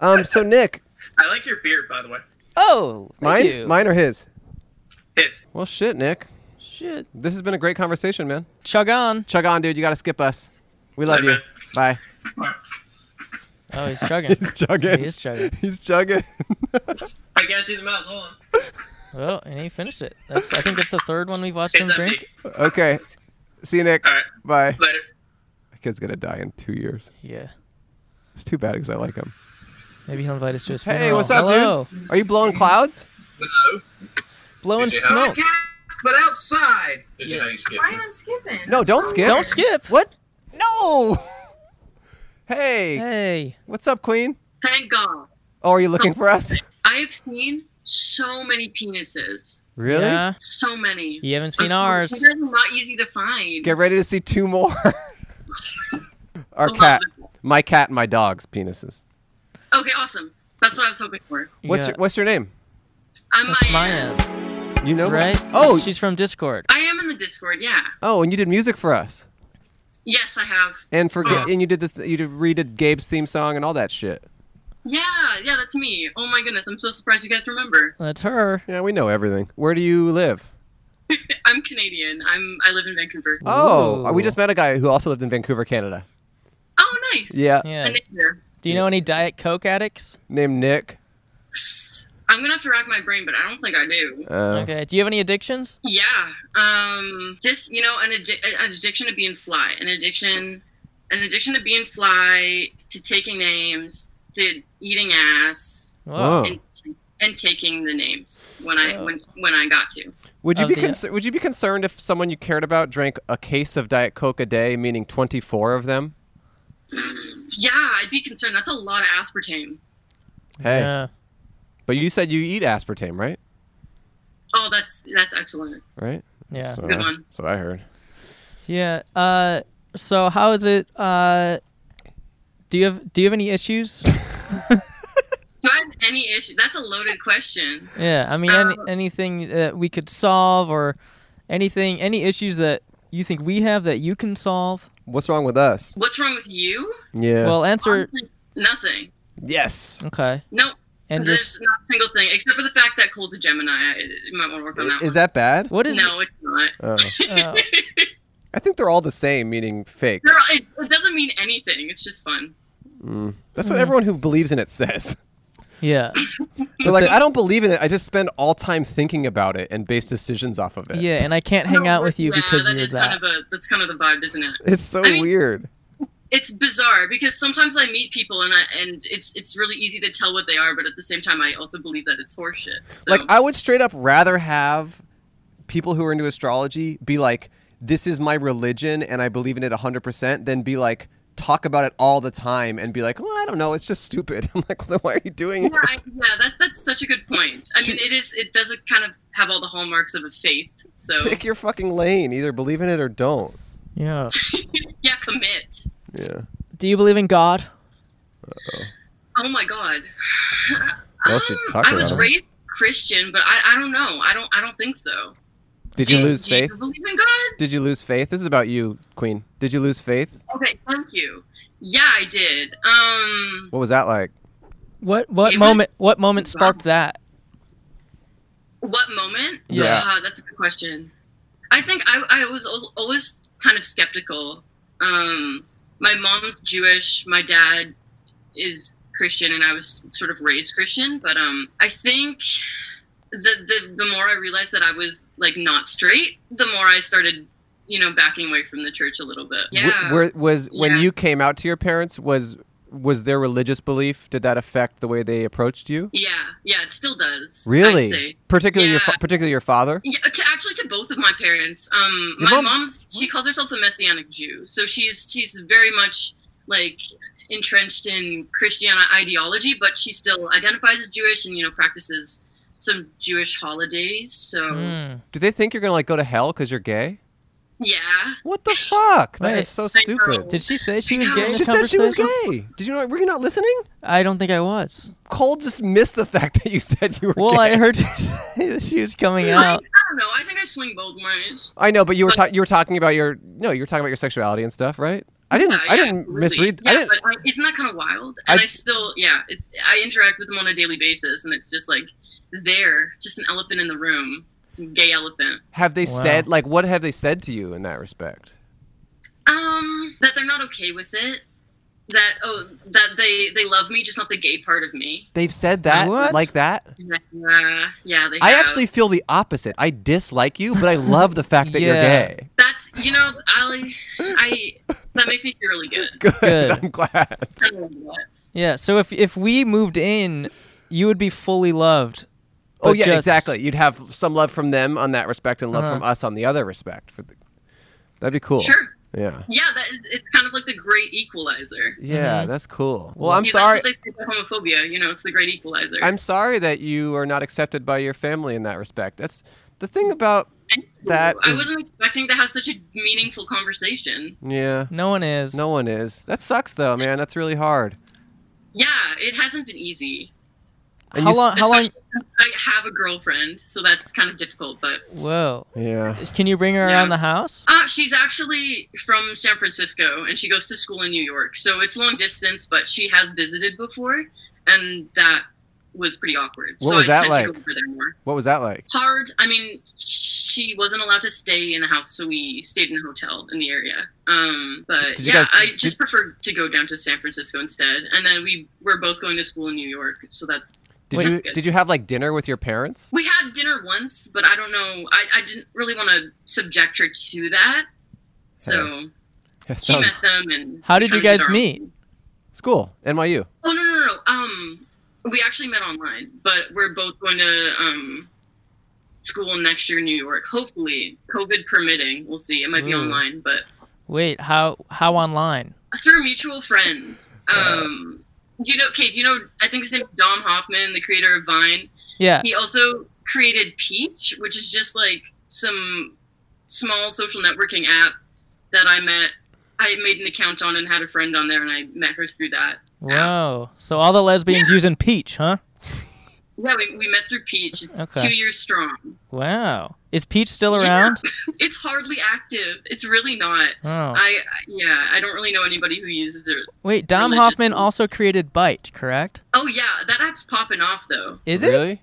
Speaker 1: Um, so Nick,
Speaker 9: I like your beard, by the way.
Speaker 2: Oh, thank
Speaker 1: mine,
Speaker 2: you.
Speaker 1: mine or his?
Speaker 9: It's
Speaker 1: Well, shit, Nick.
Speaker 2: Shit.
Speaker 1: This has been a great conversation, man.
Speaker 2: Chug on.
Speaker 1: Chug on, dude. You gotta skip us. We love
Speaker 9: Later,
Speaker 1: you.
Speaker 9: man.
Speaker 1: Bye.
Speaker 2: Oh, he's chugging.
Speaker 1: He's chugging.
Speaker 2: He is chugging.
Speaker 1: He's chugging.
Speaker 9: I gotta do the mouth. Hold on.
Speaker 2: Well, and he finished it. That's, I think it's the third one we've watched him
Speaker 9: It's empty.
Speaker 2: drink.
Speaker 1: okay. See you, Nick.
Speaker 9: All right.
Speaker 1: Bye.
Speaker 9: Later.
Speaker 1: My kid's gonna die in two years.
Speaker 2: Yeah.
Speaker 1: It's too bad because I like him.
Speaker 2: Maybe he'll invite us to his
Speaker 1: Hey,
Speaker 2: funeral.
Speaker 1: what's up,
Speaker 2: Hello.
Speaker 1: dude? Are you blowing clouds?
Speaker 10: Hello.
Speaker 2: Blowing
Speaker 10: Did you have-
Speaker 2: smoke.
Speaker 10: Podcast, but outside. Did you know you skipped?
Speaker 3: Brian, I'm skipping.
Speaker 1: No, don't skip.
Speaker 2: Don't skip.
Speaker 1: What? No. Hey,
Speaker 2: Hey.
Speaker 1: what's up, Queen?
Speaker 11: Thank God.
Speaker 1: Oh, are you looking for us?
Speaker 11: I have seen so many penises.
Speaker 1: Really?
Speaker 2: Yeah.
Speaker 11: So many.
Speaker 2: You haven't
Speaker 11: I'm
Speaker 2: seen
Speaker 11: sorry,
Speaker 2: ours.
Speaker 11: You guys are not easy to find.
Speaker 1: Get ready to see two more. Our
Speaker 11: Hold
Speaker 1: cat,
Speaker 11: on.
Speaker 1: my cat, and my dog's penises.
Speaker 11: Okay, awesome. That's what I was hoping for.
Speaker 1: What's
Speaker 2: Yeah.
Speaker 1: your What's your name?
Speaker 11: I'm
Speaker 2: That's
Speaker 11: Maya.
Speaker 2: Maya,
Speaker 1: You know,
Speaker 2: right?
Speaker 1: Oh,
Speaker 2: she's from Discord.
Speaker 11: I am in the Discord, yeah.
Speaker 1: oh, and you did music for us,
Speaker 11: Yes, I have.
Speaker 1: and for
Speaker 11: Oh.
Speaker 1: and you did the th- you did, redid Gabe's theme song and all that shit.
Speaker 11: Yeah, yeah, that's me. Oh my goodness, I'm so surprised you guys remember.
Speaker 2: That's her.
Speaker 1: Yeah, we know everything. Where do you live?
Speaker 11: I'm Canadian. I'm I live in Vancouver.
Speaker 1: Oh,
Speaker 2: Ooh.
Speaker 1: we just met a guy who also lived in Vancouver, Canada.
Speaker 11: Oh nice.
Speaker 1: Yeah.
Speaker 2: Yeah.
Speaker 11: A neighbor.
Speaker 2: Do you know any Diet Coke addicts?
Speaker 1: Named Nick.
Speaker 11: I'm gonna have to rack my brain, but I don't think I do.
Speaker 1: Uh,
Speaker 2: okay. Do you have any addictions?
Speaker 11: Yeah. Um. Just you know, an, addi- an addiction to being fly, an addiction, an addiction to being fly, to taking names, to eating ass,
Speaker 2: Whoa.
Speaker 11: and and taking the names when I when when I got to.
Speaker 1: Would you
Speaker 2: Of
Speaker 1: be
Speaker 2: the- uh,
Speaker 1: cons- would you be concerned if someone you cared about drank a case of Diet Coke a day, meaning twenty four of them?
Speaker 11: Yeah, I'd be concerned. That's a lot of aspartame.
Speaker 1: Hey,
Speaker 2: Yeah.
Speaker 1: but you said you eat aspartame, right?
Speaker 11: Oh, that's that's excellent.
Speaker 1: Right.
Speaker 2: Yeah.
Speaker 1: So,
Speaker 11: Good one.
Speaker 1: That's what I heard.
Speaker 2: Yeah. Uh, so how is it? Uh, do you have do you have any issues?
Speaker 11: Do I have any issue? That's a loaded question.
Speaker 2: yeah. I mean,
Speaker 11: Um,
Speaker 2: any, anything that we could solve, or anything, any issues that you think we have that you can solve?
Speaker 1: What's wrong with us?
Speaker 11: What's wrong with you?
Speaker 1: Yeah.
Speaker 2: Well, answer.
Speaker 11: Honestly, nothing.
Speaker 1: yes.
Speaker 2: Okay.
Speaker 11: No.
Speaker 2: And
Speaker 11: there's
Speaker 2: just
Speaker 11: not a single thing except for the fact that Cole's a Gemini. I- You might want to work on that.
Speaker 1: Is that bad?
Speaker 2: what is?
Speaker 11: no, it's not.
Speaker 1: Oh.
Speaker 2: uh,
Speaker 1: I think they're all the same, meaning fake.
Speaker 11: Girl, it, it doesn't mean anything. It's just fun.
Speaker 1: Mm. That's what everyone who believes in it says.
Speaker 2: Hmm. yeah.
Speaker 1: They're like, I don't believe in it. I just spend all time thinking about it and base decisions off of it.
Speaker 2: Yeah. And I can't hang out with you
Speaker 11: yeah,
Speaker 2: because
Speaker 11: Uh, that
Speaker 2: you're
Speaker 11: is
Speaker 2: that.
Speaker 11: kind of a that's kind of the vibe, isn't it?
Speaker 1: It's so
Speaker 11: I mean-
Speaker 1: weird.
Speaker 11: It's bizarre because sometimes I meet people and I and it's it's really easy to tell what they are, but at the same time I also believe that it's horseshit. So
Speaker 1: Like, I would straight up rather have people who are into astrology be like, this is my religion and I believe in it 100%, than be like, talk about it all the time and be like, well, I don't know. It's just stupid. I'm like, well, then why are you doing it?
Speaker 11: yeah, I, yeah that, that's such a good point. I mean, it is. It does kind of have all the hallmarks of a faith. So
Speaker 1: Pick your fucking lane. Either believe in it or don't.
Speaker 2: yeah.
Speaker 11: yeah, commit.
Speaker 1: Yeah.
Speaker 2: Do you believe in God?
Speaker 11: Oh my God.
Speaker 1: Well, should talk
Speaker 11: I was
Speaker 1: about it.
Speaker 11: raised Christian, but I, I don't know. I don't I don't think so.
Speaker 1: Did you
Speaker 11: Do-
Speaker 1: lose
Speaker 11: do
Speaker 1: faith?
Speaker 11: You believe in God?
Speaker 1: Did you lose faith? This is about you, Queen. Did you lose faith?
Speaker 11: Okay, thank you. Yeah, I did. Um,
Speaker 1: What was that like?
Speaker 2: What what
Speaker 11: It
Speaker 2: moment
Speaker 11: was-
Speaker 2: what moment sparked that?
Speaker 11: what moment?
Speaker 1: Yeah.
Speaker 11: Ah, that's a good question. I think I I was al- always kind of skeptical. Um, my mom's Jewish. My dad is Christian, and I was sort of raised Christian. But um, I think the the the more I realized that I was like not straight, the more I started, you know, backing away from the church a little bit.
Speaker 1: W-
Speaker 11: Yeah.
Speaker 1: were- was when
Speaker 11: Yeah.
Speaker 1: you came out to your parents was was their religious belief did that affect the way they approached you?
Speaker 11: yeah, yeah, it still does. I'd
Speaker 1: Really?
Speaker 11: say.
Speaker 1: Particularly your
Speaker 11: Yeah.
Speaker 1: fa- particularly your father?
Speaker 11: Yeah, to, actually, to both of my parents. Um, my
Speaker 1: Your mom's-
Speaker 11: mom's she calls herself a Messianic Jew, so she's she's very much like entrenched in Christian ideology, but she still identifies as Jewish and you know practices some Jewish holidays. So
Speaker 2: Mm.
Speaker 1: Do they think you're going to like go to hell cuz you're gay?
Speaker 11: yeah,
Speaker 1: What the fuck? That
Speaker 2: Wait.
Speaker 1: is so
Speaker 11: know.
Speaker 1: stupid.
Speaker 2: Did she say she was
Speaker 11: know.
Speaker 2: gay? in the
Speaker 1: she said she was
Speaker 2: conversation?
Speaker 1: gay. Did you not were you not listening?
Speaker 2: I don't think I was.
Speaker 1: Cole just missed the fact that you said you were
Speaker 2: Well,
Speaker 1: gay.
Speaker 2: I heard you say that she was coming
Speaker 11: I, I
Speaker 2: out.
Speaker 11: don't know. I think I swing both ways.
Speaker 1: I know, but you were
Speaker 11: But-
Speaker 1: ta- you were talking about your no, you were talking about your sexuality and stuff, right? I didn't
Speaker 11: Yeah, yeah,
Speaker 1: I didn't
Speaker 11: absolutely.
Speaker 1: misread
Speaker 11: Yeah,
Speaker 1: I didn't
Speaker 11: but I, isn't that kind of wild? And
Speaker 1: I-
Speaker 11: I, still, yeah, it's I interact with them on a daily basis, and it's just like there, just an elephant in the room, some gay elephant.
Speaker 1: Have they
Speaker 2: Wow.
Speaker 1: said like what have they said to you in that respect?
Speaker 11: Um, that they're not okay with it. That oh, that they they love me, just not the gay part of me.
Speaker 1: They've said that
Speaker 2: What?
Speaker 1: like that.
Speaker 11: Yeah, yeah, they.
Speaker 1: I
Speaker 11: have.
Speaker 1: actually feel the opposite. I dislike you, but I love the fact that you're
Speaker 2: Yeah.
Speaker 1: gay.
Speaker 11: That's you know I I that makes me feel really good.
Speaker 1: Good.
Speaker 2: Good.
Speaker 1: I'm glad.
Speaker 11: I love that.
Speaker 2: Yeah. So if if we moved in, you would be fully loved.
Speaker 1: Oh
Speaker 2: But
Speaker 1: yeah,
Speaker 2: just-
Speaker 1: exactly. You'd have some love from them on that respect, and love
Speaker 2: Uh-huh.
Speaker 1: from us on the other respect. For the... that'd be cool.
Speaker 11: Sure.
Speaker 1: Yeah.
Speaker 2: Mm-hmm.
Speaker 11: Yeah, that is, it's kind of like the great equalizer.
Speaker 1: Yeah,
Speaker 2: Mhm.
Speaker 1: that's cool. Mm-hmm. Well, I'm
Speaker 11: Yeah,
Speaker 1: sorry.
Speaker 11: That's what they say about homophobia. You know, it's the great equalizer.
Speaker 1: I'm sorry that you are not accepted by your family in that respect. That's the thing about
Speaker 11: Thank you.
Speaker 1: that
Speaker 11: I
Speaker 1: is-
Speaker 11: wasn't expecting to have such a meaningful conversation.
Speaker 1: yeah.
Speaker 2: No one is.
Speaker 1: No one is. That sucks though, man. That's really hard.
Speaker 11: Yeah, it hasn't been easy.
Speaker 1: And
Speaker 2: How
Speaker 1: you s-
Speaker 2: long? How long?
Speaker 11: Especially since I have a girlfriend, so that's kind of difficult. But
Speaker 2: Whoa.
Speaker 1: Yeah.
Speaker 2: Can you bring her
Speaker 11: Yeah.
Speaker 2: around the house?
Speaker 11: uh, she's actually from San Francisco, and she goes to school in New York, so it's long distance. But she has visited before, and that was pretty awkward.
Speaker 1: What
Speaker 11: so
Speaker 1: was
Speaker 11: I
Speaker 1: that
Speaker 11: tend
Speaker 1: like?
Speaker 11: to go over there more.
Speaker 1: What was that like?
Speaker 11: Hard. I mean, she wasn't allowed to stay in the house, so we stayed in a hotel in the area. Um, but
Speaker 1: Did you
Speaker 11: yeah,
Speaker 1: guys-
Speaker 11: I
Speaker 1: did-
Speaker 11: just preferred to go down to San Francisco instead. And then we were both going to school in New York, so that's
Speaker 1: Did
Speaker 11: that's
Speaker 1: you
Speaker 11: good.
Speaker 1: did you have like dinner with your parents?
Speaker 11: We had dinner once, but I don't know. I, I didn't really want to subject her to that, so she
Speaker 1: Sounds-
Speaker 11: met them and.
Speaker 2: How did you
Speaker 11: kind of
Speaker 2: guys
Speaker 11: our-
Speaker 2: meet?
Speaker 1: School, NYU.
Speaker 11: Oh no no no! no. Um, we actually met online, but we're both going to um school next year in New York. Hopefully, COVID permitting, we'll see. It might be
Speaker 2: Ooh.
Speaker 11: online, but
Speaker 2: Wait, how how online?
Speaker 11: through mutual friends. Um, do you know, Kate, do you know? I think his name's Dom Hoffman, the creator of Vine.
Speaker 2: Yeah.
Speaker 11: He also created Peach, which is just like some small social networking app that I met. I made an account on and had a friend on there, and I met her through that.
Speaker 2: Whoa. So all the lesbians using Peach, huh?
Speaker 11: Yeah, we, we met through Peach. It's
Speaker 2: Okay.
Speaker 11: two years strong.
Speaker 2: Wow. Is Peach still around?
Speaker 11: It's hardly active. It's really not.
Speaker 2: Oh.
Speaker 11: I I- yeah, I don't really know anybody who uses it.
Speaker 2: Wait, Dom
Speaker 11: Religious-
Speaker 2: Hoffman also created Bite, correct?
Speaker 11: Oh yeah, that app's popping off though.
Speaker 2: Is it?
Speaker 1: really?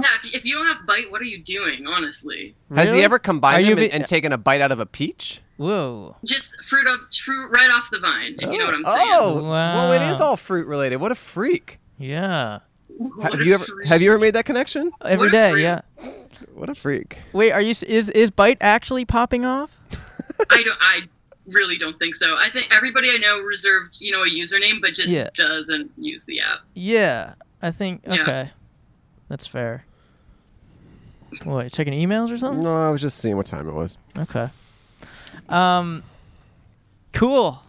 Speaker 11: Yeah, if, if you don't have bite, what are you doing? Honestly,
Speaker 1: Has he
Speaker 2: Really?
Speaker 1: ever
Speaker 2: Are
Speaker 1: combined
Speaker 2: you
Speaker 1: them
Speaker 2: be-
Speaker 1: and, and taken a bite out of a peach?
Speaker 2: Whoa.
Speaker 11: just fruit of fruit right off the vine. If you know what I'm saying.
Speaker 1: Oh, well, it is
Speaker 2: Wow.
Speaker 1: all fruit related. What a freak!
Speaker 2: Yeah.
Speaker 11: What
Speaker 1: Have
Speaker 11: a
Speaker 1: you ever
Speaker 11: freak.
Speaker 1: have you ever made that connection?
Speaker 2: Every
Speaker 11: a
Speaker 2: day,
Speaker 11: freak.
Speaker 2: yeah.
Speaker 1: What a freak!
Speaker 2: Wait, are you s- is is Bite actually popping off?
Speaker 11: I don't. I really don't think so. I think everybody I know reserved, you know, a username, but just
Speaker 2: Yeah.
Speaker 11: doesn't use the app.
Speaker 2: Yeah. I think
Speaker 11: Yeah.
Speaker 2: okay. That's fair. What, checking emails or something?
Speaker 1: No, I was just seeing what time it was.
Speaker 2: Okay. Um cool.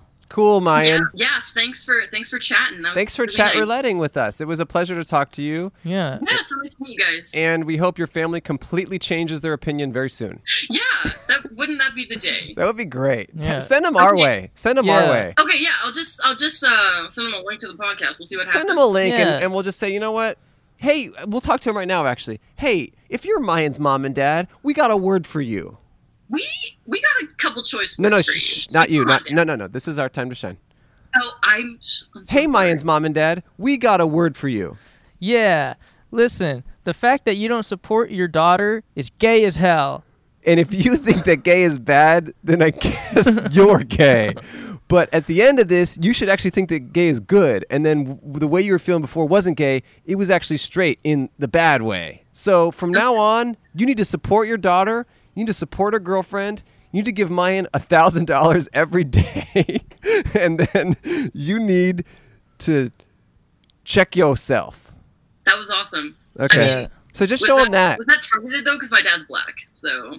Speaker 1: Cool, Mayan.
Speaker 11: Yeah, yeah. Thanks for thanks for chatting. That was
Speaker 1: Thanks for
Speaker 11: really
Speaker 1: chat
Speaker 11: nice.
Speaker 1: rouletting with us. It was a pleasure to talk to you,
Speaker 2: Yeah.
Speaker 11: Yeah, so nice to meet you guys.
Speaker 1: and we hope your family completely changes their opinion very soon.
Speaker 11: yeah, that wouldn't that be the day?
Speaker 1: That would be great. T-
Speaker 2: Yeah.
Speaker 1: Send them our
Speaker 11: Okay.
Speaker 1: way. Send them our
Speaker 2: Yeah.
Speaker 1: way.
Speaker 11: Okay, yeah, I'll just I'll just uh, send them a link to the podcast. We'll see what
Speaker 1: Send
Speaker 11: happens.
Speaker 1: them a link,
Speaker 2: Yeah.
Speaker 1: and, and we'll just say, you know what? Hey, we'll talk to him right now. Actually, hey, if you're Mayan's mom and dad, we got a word for you.
Speaker 11: We we got a couple choice.
Speaker 1: No, no,
Speaker 11: words for
Speaker 1: shh, shh,
Speaker 11: So
Speaker 1: not you.
Speaker 11: come
Speaker 1: Not
Speaker 11: on
Speaker 1: no,
Speaker 11: down.
Speaker 1: no, no. This is our time to shine.
Speaker 11: Oh, I'm. I'm
Speaker 1: Hey,
Speaker 11: sorry.
Speaker 1: Mayan's mom and dad, we got a word for you.
Speaker 2: Yeah. Listen, the fact that you don't support your daughter is gay as hell.
Speaker 1: And if you think that gay is bad, then I guess you're gay. But at the end of this, you should actually think that gay is good. And then w- the way you were feeling before wasn't gay, it was actually straight in the bad way. So from now on, you need to support your daughter. You need to support her girlfriend. You need to give Mayan $1,000 every day. and then you need to check yourself.
Speaker 11: That was awesome.
Speaker 1: Okay.
Speaker 11: I mean,
Speaker 1: So just
Speaker 11: was
Speaker 1: show him that.
Speaker 11: Was that targeted though? Because my dad's black, so.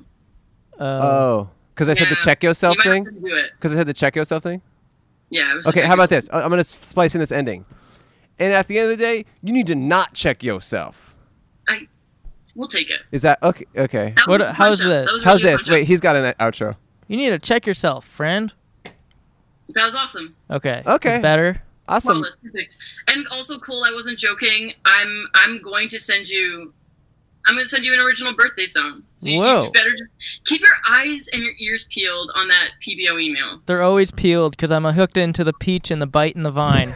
Speaker 2: Uh,
Speaker 1: Oh, because I said the
Speaker 11: yeah,
Speaker 1: check yourself
Speaker 11: you might
Speaker 1: thing?
Speaker 11: Have to do it.
Speaker 1: Because I said the check yourself thing?
Speaker 11: Yeah. It was
Speaker 1: Okay, how about this? I- I'm gonna s- splice in this ending. And at the end of the day, you need to not check yourself.
Speaker 11: I. We'll take it.
Speaker 1: Is that okay? Okay.
Speaker 11: That
Speaker 2: What-
Speaker 11: was a
Speaker 2: how's
Speaker 11: punch-up. That
Speaker 2: this?
Speaker 11: was
Speaker 1: How's
Speaker 11: really a
Speaker 1: this?
Speaker 11: punch-up.
Speaker 1: Wait, he's got an outro.
Speaker 2: you need to check yourself, friend.
Speaker 11: That was awesome.
Speaker 2: Okay.
Speaker 1: Okay.
Speaker 2: It's better.
Speaker 1: Awesome.
Speaker 11: Flawless, perfect. And also, Cole, I wasn't joking. I'm I'm going to send you. I'm going to send you an original birthday song. So you,
Speaker 2: Whoa.
Speaker 11: you better just keep your eyes and your ears peeled on that PBO email.
Speaker 2: They're always peeled because I'm hooked into the peach and the bite and the vine.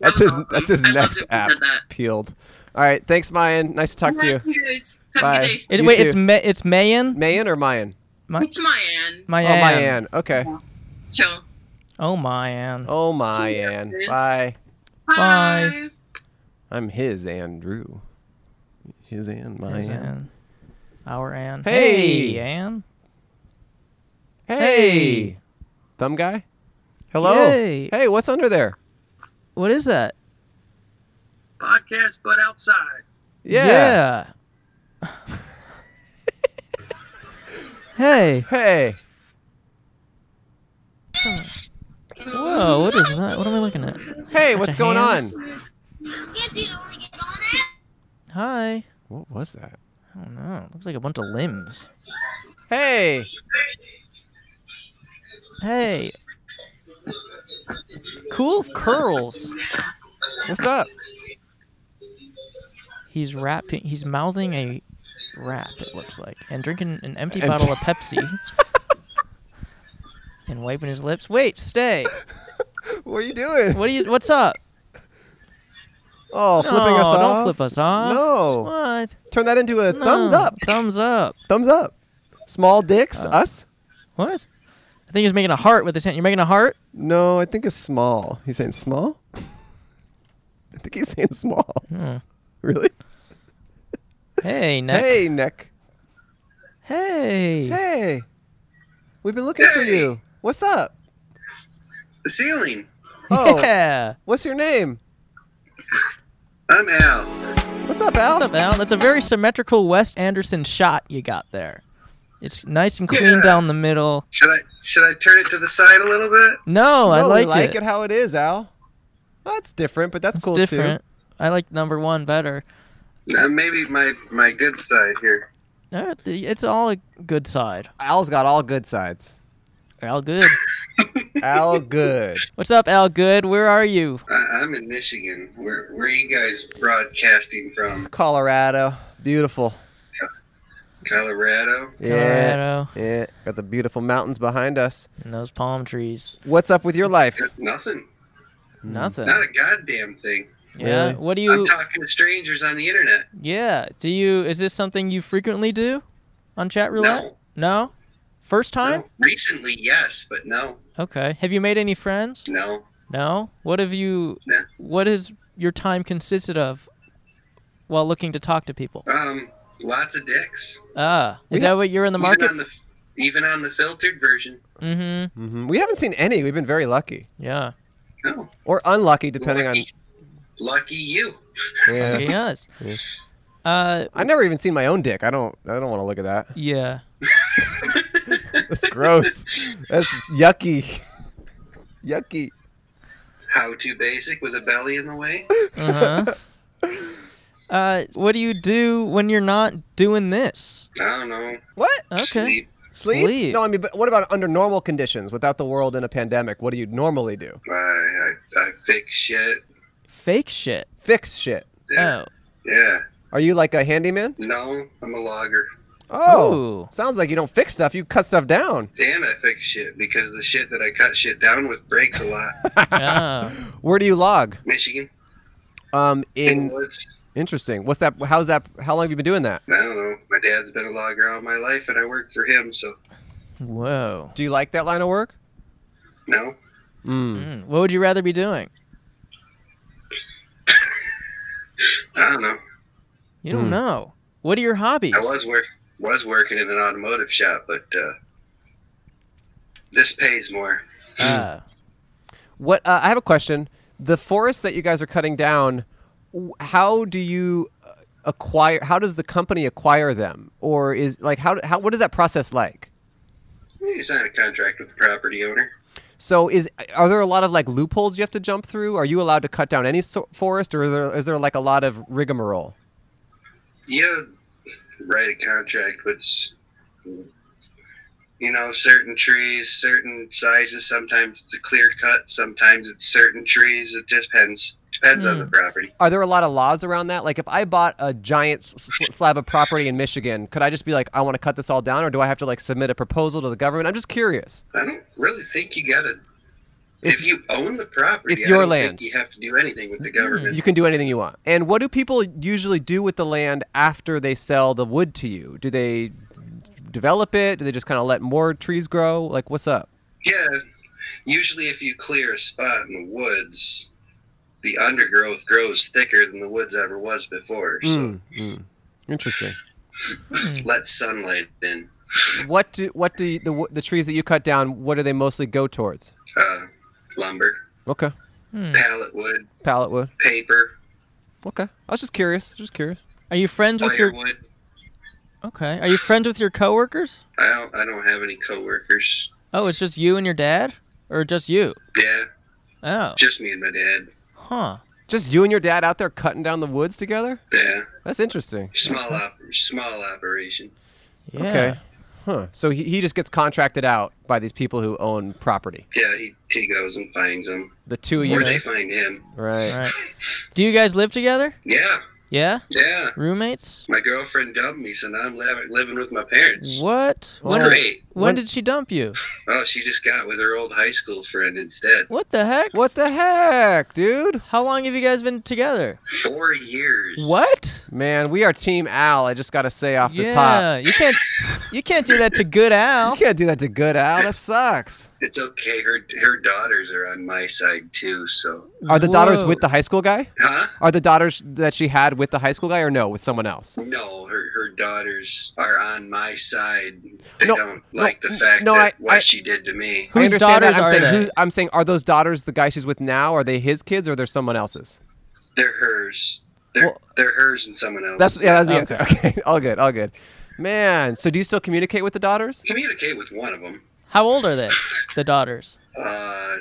Speaker 1: that's
Speaker 11: was
Speaker 1: his.
Speaker 11: awesome.
Speaker 1: That's his
Speaker 11: I loved
Speaker 1: next
Speaker 11: it when you
Speaker 1: app.
Speaker 11: said that.
Speaker 1: Peeled. All right. Thanks, Mayan. Nice to talk to you.
Speaker 11: Alright, you guys. Have a
Speaker 1: Bye.
Speaker 11: good day.
Speaker 2: it,
Speaker 1: You
Speaker 2: wait,
Speaker 1: too.
Speaker 2: it's Ma- it's Mayan.
Speaker 1: Mayan or Mayan?
Speaker 11: It's Mayan.
Speaker 2: Mayan.
Speaker 1: Oh, Mayan. Okay.
Speaker 11: Chill.
Speaker 2: Oh, Mayan.
Speaker 1: Oh, Mayan.
Speaker 11: guys.
Speaker 1: Bye.
Speaker 2: Bye.
Speaker 11: Bye.
Speaker 1: I'm his Andrew. His and
Speaker 2: There's
Speaker 1: Mayan.
Speaker 2: Ann. Our Ann.
Speaker 1: Hey.
Speaker 2: Ann.
Speaker 1: Hey. Thumb guy. Hello.
Speaker 2: Yay.
Speaker 1: Hey, what's under there?
Speaker 2: What is that?
Speaker 4: Podcast, but outside.
Speaker 2: Yeah. hey.
Speaker 1: Hey.
Speaker 2: Whoa, what is that? What am I looking at?
Speaker 1: Hey, what's going on?
Speaker 2: hands. Hi.
Speaker 1: What was that?
Speaker 2: I don't know. Looks like a bunch of limbs.
Speaker 1: Hey.
Speaker 2: Hey. Cool curls.
Speaker 1: What's up?
Speaker 2: He's rapping. He's mouthing a rap. It looks like, and drinking an
Speaker 1: Empty.
Speaker 2: empty bottle of Pepsi, and wiping his lips. Wait, stay.
Speaker 1: What are you doing?
Speaker 2: What are you? What's up?
Speaker 1: Oh, flipping
Speaker 2: No,
Speaker 1: us
Speaker 2: don't
Speaker 1: off.
Speaker 2: flip us off.
Speaker 1: No.
Speaker 2: Uh, What?
Speaker 1: Turn that into a thumbs
Speaker 2: No.
Speaker 1: up.
Speaker 2: Thumbs up. Oh.
Speaker 1: Thumbs up. Small dicks, us?
Speaker 2: What? I think he was making a heart with his hand. You're making a heart?
Speaker 1: No, I think it's small. He's saying small? I think he's saying small.
Speaker 2: Hmm.
Speaker 1: Really?
Speaker 2: Hey, Nick.
Speaker 1: Hey, Nick.
Speaker 2: Hey.
Speaker 1: Hey. We've been looking for
Speaker 12: Hey.
Speaker 1: you. What's up?
Speaker 12: The ceiling.
Speaker 1: Oh.
Speaker 2: Yeah.
Speaker 1: What's your name?
Speaker 12: I'm Al.
Speaker 1: What's up, Al?
Speaker 2: What's up, Al? That's a very symmetrical Wes Anderson shot you got there. It's nice and clean
Speaker 12: Yeah.
Speaker 2: down the middle.
Speaker 12: Should I should I turn it to the side a little bit?
Speaker 2: No, I
Speaker 1: No, we
Speaker 2: like,
Speaker 1: like
Speaker 2: it.
Speaker 1: it. how it is, Al. That's different, but that's
Speaker 2: It's
Speaker 1: cool
Speaker 2: different. I like number one better.
Speaker 12: Uh, maybe my my good side here.
Speaker 2: All right, It's all a good side.
Speaker 1: too. Al's got all good sides.
Speaker 2: Al Good.
Speaker 1: Al good.
Speaker 2: What's up, Al Good? Where are you?
Speaker 12: I, I'm in Michigan. Where where are you guys broadcasting from?
Speaker 1: Colorado. Beautiful.
Speaker 12: Colorado.
Speaker 2: Colorado.
Speaker 1: Yeah. yeah. Got the beautiful mountains behind us.
Speaker 2: And those palm trees.
Speaker 1: What's up with your life?
Speaker 12: Nothing.
Speaker 2: Nothing.
Speaker 12: Not a goddamn thing.
Speaker 2: Yeah.
Speaker 1: Really?
Speaker 2: What do
Speaker 12: I'm
Speaker 2: you?
Speaker 12: talking to strangers on the internet.
Speaker 2: Yeah. Do you? Is this something you frequently do on chat roulette? No. First time?
Speaker 12: No. Recently, yes, but no,
Speaker 2: Okay. Have you made any friends?
Speaker 12: no.
Speaker 2: No. What have you?
Speaker 12: No.
Speaker 2: What has your time consisted of? While looking to talk to people.
Speaker 12: Um, lots of dicks.
Speaker 2: Ah,
Speaker 1: We
Speaker 2: is that
Speaker 1: have-
Speaker 2: what you're in the
Speaker 12: Even
Speaker 2: market?
Speaker 12: on the even on the filtered version.
Speaker 2: mm-hmm.
Speaker 1: hmm We haven't seen any. We've been very lucky.
Speaker 2: Yeah.
Speaker 12: No.
Speaker 1: Or unlucky, depending on.
Speaker 12: Lucky you.
Speaker 1: Yeah.
Speaker 2: Yes.
Speaker 1: Yeah.
Speaker 2: Uh.
Speaker 1: I never even seen my own dick. I don't. I don't want to look at that.
Speaker 2: Yeah.
Speaker 1: That's gross. That's yucky. yucky.
Speaker 12: How to basic with a belly in the way.
Speaker 2: Uh-huh. uh. What do you do when you're not doing this?
Speaker 12: I don't know.
Speaker 1: What?
Speaker 2: Okay.
Speaker 12: Sleep.
Speaker 1: Sleep? No, I mean, but what about under normal conditions, without the world in a pandemic? What do you normally do?
Speaker 12: I, I, I fix shit.
Speaker 2: Fake shit.
Speaker 1: Fix shit.
Speaker 12: Yeah.
Speaker 2: Oh.
Speaker 12: Yeah.
Speaker 1: Are you like a handyman?
Speaker 12: No, I'm a logger.
Speaker 1: Oh,
Speaker 2: Ooh.
Speaker 1: sounds like you don't fix stuff. You cut stuff down.
Speaker 12: And I fix shit because the shit that I cut shit down with breaks a lot.
Speaker 2: Ah.
Speaker 1: Where do you log?
Speaker 12: Michigan.
Speaker 1: Um,
Speaker 12: In
Speaker 1: in
Speaker 12: woods.
Speaker 1: interesting. What's that? How's that? How long have you been doing that?
Speaker 12: I don't know. My dad's been a logger all my life, and I worked for him. So
Speaker 2: Whoa.
Speaker 1: Do you like that line of work?
Speaker 12: no,
Speaker 1: Mm.
Speaker 2: Mm, What would you rather be doing?
Speaker 12: I don't know.
Speaker 2: You don't
Speaker 1: Hmm.
Speaker 2: know. What are your hobbies?
Speaker 12: I was work was working in an automotive shop, but uh, this pays more.
Speaker 2: Uh,
Speaker 1: What? Uh, I have a question. The forests that you guys are cutting down, w- how do you uh, acquire? How does the company acquire them? Or is like how? How? What is that process like?
Speaker 12: You sign a contract with the property owner.
Speaker 1: So is are there a lot of like loopholes you have to jump through? Are you allowed to cut down any so- forest, or is there is there like a lot of rigmarole?
Speaker 12: You write a contract with, s- you know, certain trees, certain sizes. Sometimes it's a clear cut. Sometimes it's certain trees. It just depends. Depends
Speaker 1: Hmm.
Speaker 12: on the property.
Speaker 1: Are there a lot of laws around that? Like if I bought a giant s- s- slab of property in Michigan, could I just be like, I want to cut this all down, or do I have to like submit a proposal to the government? I'm just curious.
Speaker 12: I don't really think you gotta.
Speaker 1: It's-
Speaker 12: if you own the property,
Speaker 1: it's
Speaker 12: I
Speaker 1: your
Speaker 12: don't
Speaker 1: land. Hmm.
Speaker 12: Think you have to do anything with the
Speaker 2: Hmm.
Speaker 12: government.
Speaker 1: You can do anything you want. And what do people usually do with the land after they sell the wood to you? Do they develop it? Do they just kind of let more trees grow? Like what's up?
Speaker 12: Yeah. Usually, if you clear a spot in the woods, the undergrowth grows thicker than the woods ever was before. So
Speaker 2: Hmm,
Speaker 1: Mm, mm. Interesting. Mm-hmm.
Speaker 12: let sunlight in.
Speaker 1: What do what do you, the w- the trees that you cut down? What do they mostly go towards?
Speaker 12: Uh, lumber,
Speaker 1: Okay,
Speaker 2: hmm.
Speaker 12: pallet wood,
Speaker 1: pallet wood.
Speaker 12: paper,
Speaker 1: Okay, I was just curious. Just curious.
Speaker 2: Are you friends with your
Speaker 12: firewood.
Speaker 2: Okay. Are you friends with your coworkers?
Speaker 12: I don't. I don't have any coworkers.
Speaker 2: Oh, it's just you and your dad? Or just you?
Speaker 12: Yeah,
Speaker 2: Oh.
Speaker 12: just me and my dad.
Speaker 2: Huh.
Speaker 1: Just you and your dad out there cutting down the woods together.
Speaker 12: Yeah,
Speaker 1: That's interesting.
Speaker 12: small op- small operation.
Speaker 2: Yeah.
Speaker 1: Okay. Huh. So he, he just gets contracted out by these people who own property.
Speaker 12: Yeah, he, he goes and finds them.
Speaker 1: The two of you.
Speaker 12: Where they find him.
Speaker 1: Right.
Speaker 2: All right. Do you guys live together?
Speaker 12: Yeah,
Speaker 2: Yeah?
Speaker 12: Yeah.
Speaker 2: Roommates?
Speaker 12: My girlfriend dumped me, so now I'm li- living with my parents.
Speaker 2: What?
Speaker 12: It's great.
Speaker 2: When, did she dump you?
Speaker 12: Oh, she just got with her old high school friend instead.
Speaker 2: What the heck? What
Speaker 1: the heck, dude?
Speaker 2: How long have you guys been together?
Speaker 12: Four years.
Speaker 2: What?
Speaker 1: Man, we are Team Al. I just got to say off the
Speaker 2: yeah,
Speaker 1: top.
Speaker 2: you can't you can't do that to good Al.
Speaker 1: You can't do that to good Al. That sucks.
Speaker 12: It's okay. Her her daughters are on my side too, so
Speaker 1: Are the daughters with the high school guy?
Speaker 12: Huh?
Speaker 1: Are the daughters that she had with the high school guy or no, with someone else?
Speaker 12: No, her her daughters are on my side. They don't like the fact
Speaker 1: no,
Speaker 12: that
Speaker 1: I-
Speaker 12: what
Speaker 1: I-
Speaker 12: she did to me.
Speaker 1: I understand that. I'm saying,
Speaker 12: they?
Speaker 1: who- I'm saying, are those daughters the guy she's with now? Are they his kids or they're someone else's?
Speaker 12: They're hers. They're, they're hers and someone
Speaker 2: Oh.
Speaker 12: else.
Speaker 1: That's yeah, that's the answer. Okay, all good, all good. Man, so do you still communicate with the daughters?
Speaker 12: Communicate with one of them.
Speaker 2: How old are they? The daughters.
Speaker 12: Uh,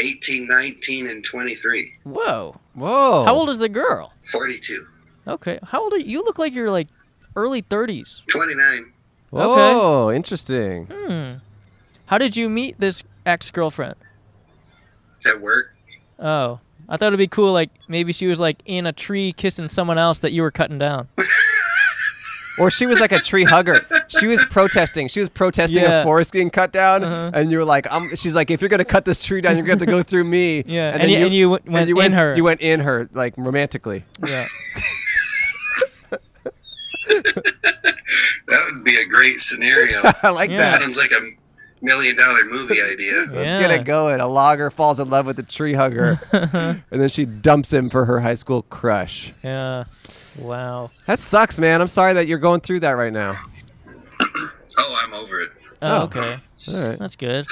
Speaker 12: 18, 19, and 23.
Speaker 2: Whoa.
Speaker 1: Whoa.
Speaker 2: How old is the girl?
Speaker 12: 42.
Speaker 2: Okay. How old are you? You look like you're like early 30s.
Speaker 12: 29.
Speaker 2: Okay.
Speaker 1: Oh, interesting.
Speaker 2: Hmm. How did you meet this ex-girlfriend?
Speaker 12: At work.
Speaker 2: Oh, I thought it'd be cool. Like maybe she was like in a tree kissing someone else that you were cutting down.
Speaker 1: Or she was like a tree hugger. She was protesting. She was protesting
Speaker 2: Yeah. Uh-huh.
Speaker 1: a forest getting cut down, and you were like, i "She's like, if you're gonna cut this tree down, you're gonna have to go through me."
Speaker 2: Yeah, and
Speaker 1: then
Speaker 2: you- and you went- went in her.
Speaker 1: You went in her like romantically.
Speaker 2: Yeah.
Speaker 12: That would be a great scenario.
Speaker 1: I like Yeah. that.
Speaker 12: Sounds like a million dollar movie idea.
Speaker 1: Let's get it going. A logger falls in love with a tree hugger,
Speaker 2: Uh-huh.
Speaker 1: and then she dumps him for her high school crush.
Speaker 2: Yeah. Wow.
Speaker 1: That sucks, man. I'm sorry that you're going through that right now.
Speaker 12: Oh, I'm over it.
Speaker 2: Oh, okay.
Speaker 1: All right.
Speaker 2: That's good.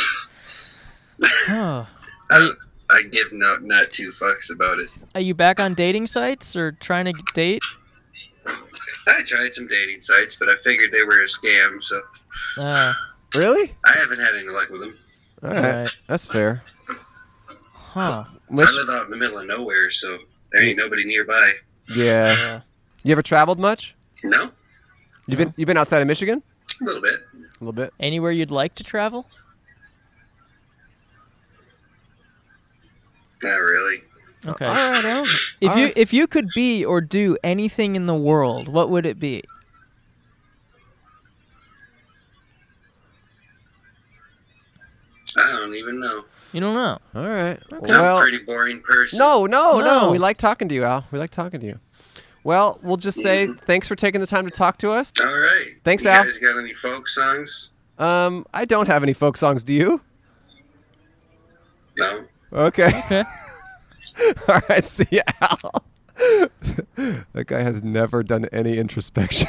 Speaker 2: Oh.
Speaker 12: I, I give no, not two fucks about it.
Speaker 2: Are you back on dating sites or trying to date?
Speaker 12: I tried some dating sites, but I figured they were a scam, so
Speaker 2: Uh,
Speaker 1: really?
Speaker 12: I haven't had any luck with them.
Speaker 1: All
Speaker 2: right.
Speaker 1: That's fair.
Speaker 2: Huh.
Speaker 12: I live out in the middle of nowhere, so there ain't nobody nearby.
Speaker 1: Yeah. You ever traveled much?
Speaker 12: No,
Speaker 1: You been you been outside of Michigan?
Speaker 12: a little bit.
Speaker 1: A little bit.
Speaker 2: Anywhere you'd like to travel?
Speaker 12: Not really.
Speaker 2: Okay.
Speaker 12: All right,
Speaker 1: Al.
Speaker 2: If
Speaker 12: All
Speaker 2: you
Speaker 12: right.
Speaker 2: if you could be or do anything in the world, what would it be?
Speaker 12: I don't even know.
Speaker 2: You don't know.
Speaker 1: All right.
Speaker 12: I'm a
Speaker 1: Well,
Speaker 12: pretty boring person.
Speaker 1: no, no, no,
Speaker 12: No.
Speaker 1: We like talking to you, Al. We like talking to you. Well, we'll just say thanks for taking the time to talk to us.
Speaker 12: Mm-hmm. All right.
Speaker 1: Thanks,
Speaker 12: you
Speaker 1: Al.
Speaker 12: guys got any folk songs?
Speaker 1: Um, I don't have any folk songs. Do you?
Speaker 12: No.
Speaker 1: Okay. All right. See you, Al. that guy has never done any introspection.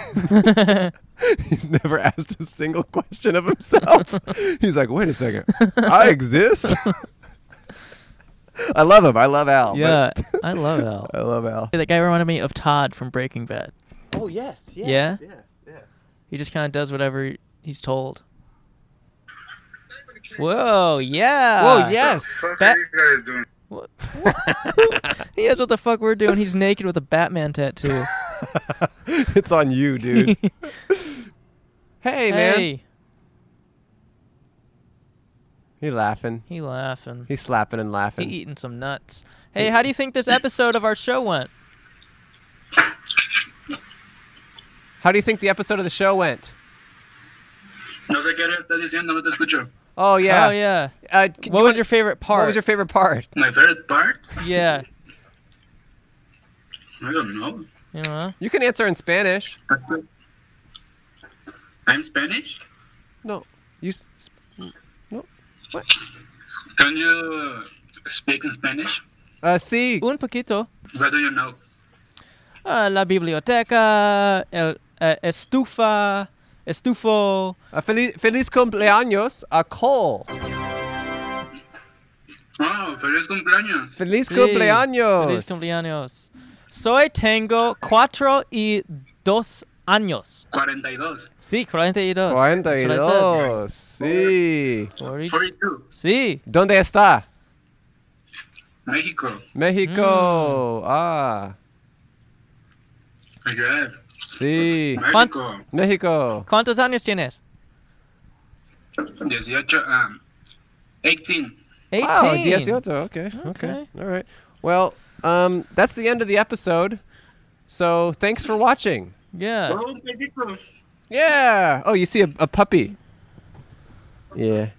Speaker 1: He's never asked a single question of himself. He's like, wait a second, I exist. I love him. I love Al. but-
Speaker 2: Yeah, I love Al.
Speaker 1: I love Al.
Speaker 2: That guy reminded me of Todd from Breaking Bad.
Speaker 1: Oh yes, yes,
Speaker 2: Yeah?
Speaker 1: yes, yes.
Speaker 2: He just kind of does whatever he's told. Whoa, yeah.
Speaker 1: Whoa, yes.
Speaker 2: What the fuck are you guys doing? he has what the fuck we're doing. He's naked with a Batman tattoo.
Speaker 1: it's on you, dude. hey, man.
Speaker 2: Hey,
Speaker 1: He laughing.
Speaker 2: he laughing.
Speaker 1: He's slapping and
Speaker 2: He
Speaker 1: laughing.
Speaker 2: eating some nuts. Hey, how do you think this episode of our show went?
Speaker 1: How do you think the episode of the show went?
Speaker 13: No sé qué le estás diciendo, no te escucho.
Speaker 1: Oh yeah.
Speaker 2: Oh yeah.
Speaker 1: Uh, c-
Speaker 2: What was your favorite part?
Speaker 1: What was your favorite part?
Speaker 13: My favorite part?
Speaker 2: Yeah.
Speaker 13: I don't know.
Speaker 2: You know.
Speaker 1: You can answer in Spanish.
Speaker 13: I'm Spanish.
Speaker 1: No. You. s- s- No. What?
Speaker 13: Can you speak in Spanish?
Speaker 1: Uh, see.
Speaker 2: Un poquito.
Speaker 13: Where do you know?
Speaker 2: Ah, la biblioteca, el eh, estufa, estufo.
Speaker 1: Uh, feliz, feliz cumpleaños a Cole.
Speaker 13: Oh, feliz cumpleaños.
Speaker 1: Feliz
Speaker 2: Sí,
Speaker 1: cumpleaños.
Speaker 2: Feliz cumpleaños. Soy tengo cuatro y dos años.
Speaker 13: 42.
Speaker 2: Sí, 42. That's what I said.
Speaker 1: 42. Sí.
Speaker 13: 42.
Speaker 2: Sí.
Speaker 1: ¿Dónde está?
Speaker 13: Mexico.
Speaker 2: Mm.
Speaker 1: México. Ah.
Speaker 13: Good.
Speaker 1: Sí.
Speaker 13: México.
Speaker 1: México.
Speaker 2: ¿Cuántos años tienes?
Speaker 13: 18. Um, 18.
Speaker 1: Wow, 18. Okay, okay. All right. Well, um, that's the end of the episode.
Speaker 11: So thanks for watching.
Speaker 4: Yeah.
Speaker 11: Yeah. Oh, you see a, a puppy. Yeah.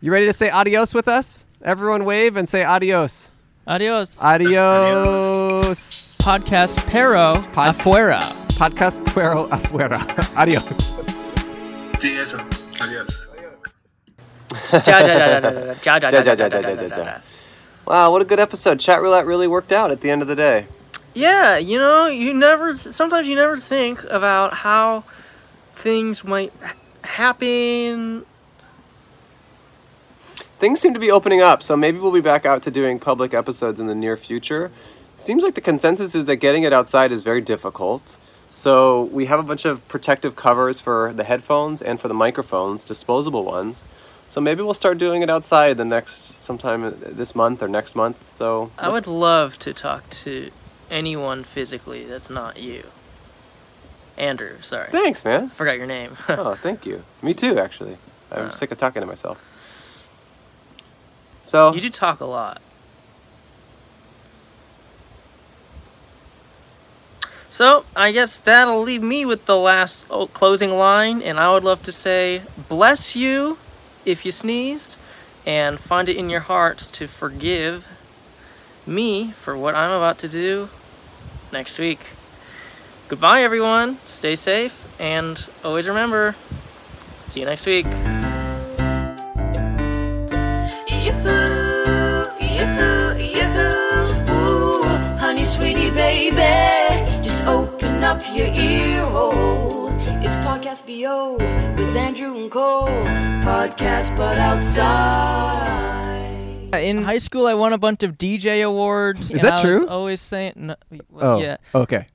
Speaker 11: You ready to say adios with us? Everyone wave and say adios.
Speaker 4: Adios.
Speaker 11: Adios.
Speaker 4: Podcast Pero Afuera.
Speaker 11: Podcast Pero Afuera. adios.
Speaker 14: Sí, eso. Adiós.
Speaker 4: Ja, ja, ja,
Speaker 1: Ja,
Speaker 4: ja, ja, ja, ja, ja,
Speaker 1: ja, ja, ja, ja, ja. Wow, what a good episode. Chat roulette really worked out at the end of the day.
Speaker 2: Yeah, you know, you never. Sometimes you never think about how things might ha- happen.
Speaker 1: Things seem to be opening up, so maybe we'll be back out to doing public episodes in the near future. Seems like the consensus is that getting it outside is very difficult. So we have a bunch of protective covers for the headphones and for the microphones, disposable ones. So maybe we'll start doing it outside the next sometime this month or next month. So
Speaker 2: I would love to talk to anyone physically that's not you. Andrew, sorry.
Speaker 1: Thanks, man.
Speaker 2: Forgot your name.
Speaker 1: oh, thank you. Me too, actually. I'm
Speaker 2: Uh,
Speaker 1: sick of talking to myself. So
Speaker 2: You do talk a lot. So I guess that'll leave me with the last oh, closing line, and I would love to say, "Bless you, if you sneezed, and find it in your hearts to forgive me for what I'm about to do next week." Goodbye, everyone. Stay safe, and always remember. See you next week.
Speaker 3: Ooh, honey, sweetie, baby, just open up your ear hole. It's Podcast BO with Andrew and Cole. Podcast, but outside.
Speaker 4: In high school, I won a bunch of DJ awards.
Speaker 11: Is
Speaker 4: and
Speaker 11: that
Speaker 4: I was
Speaker 11: true?
Speaker 4: always saying, no, well,
Speaker 2: uh,
Speaker 11: Oh.
Speaker 4: yeah.
Speaker 11: Okay.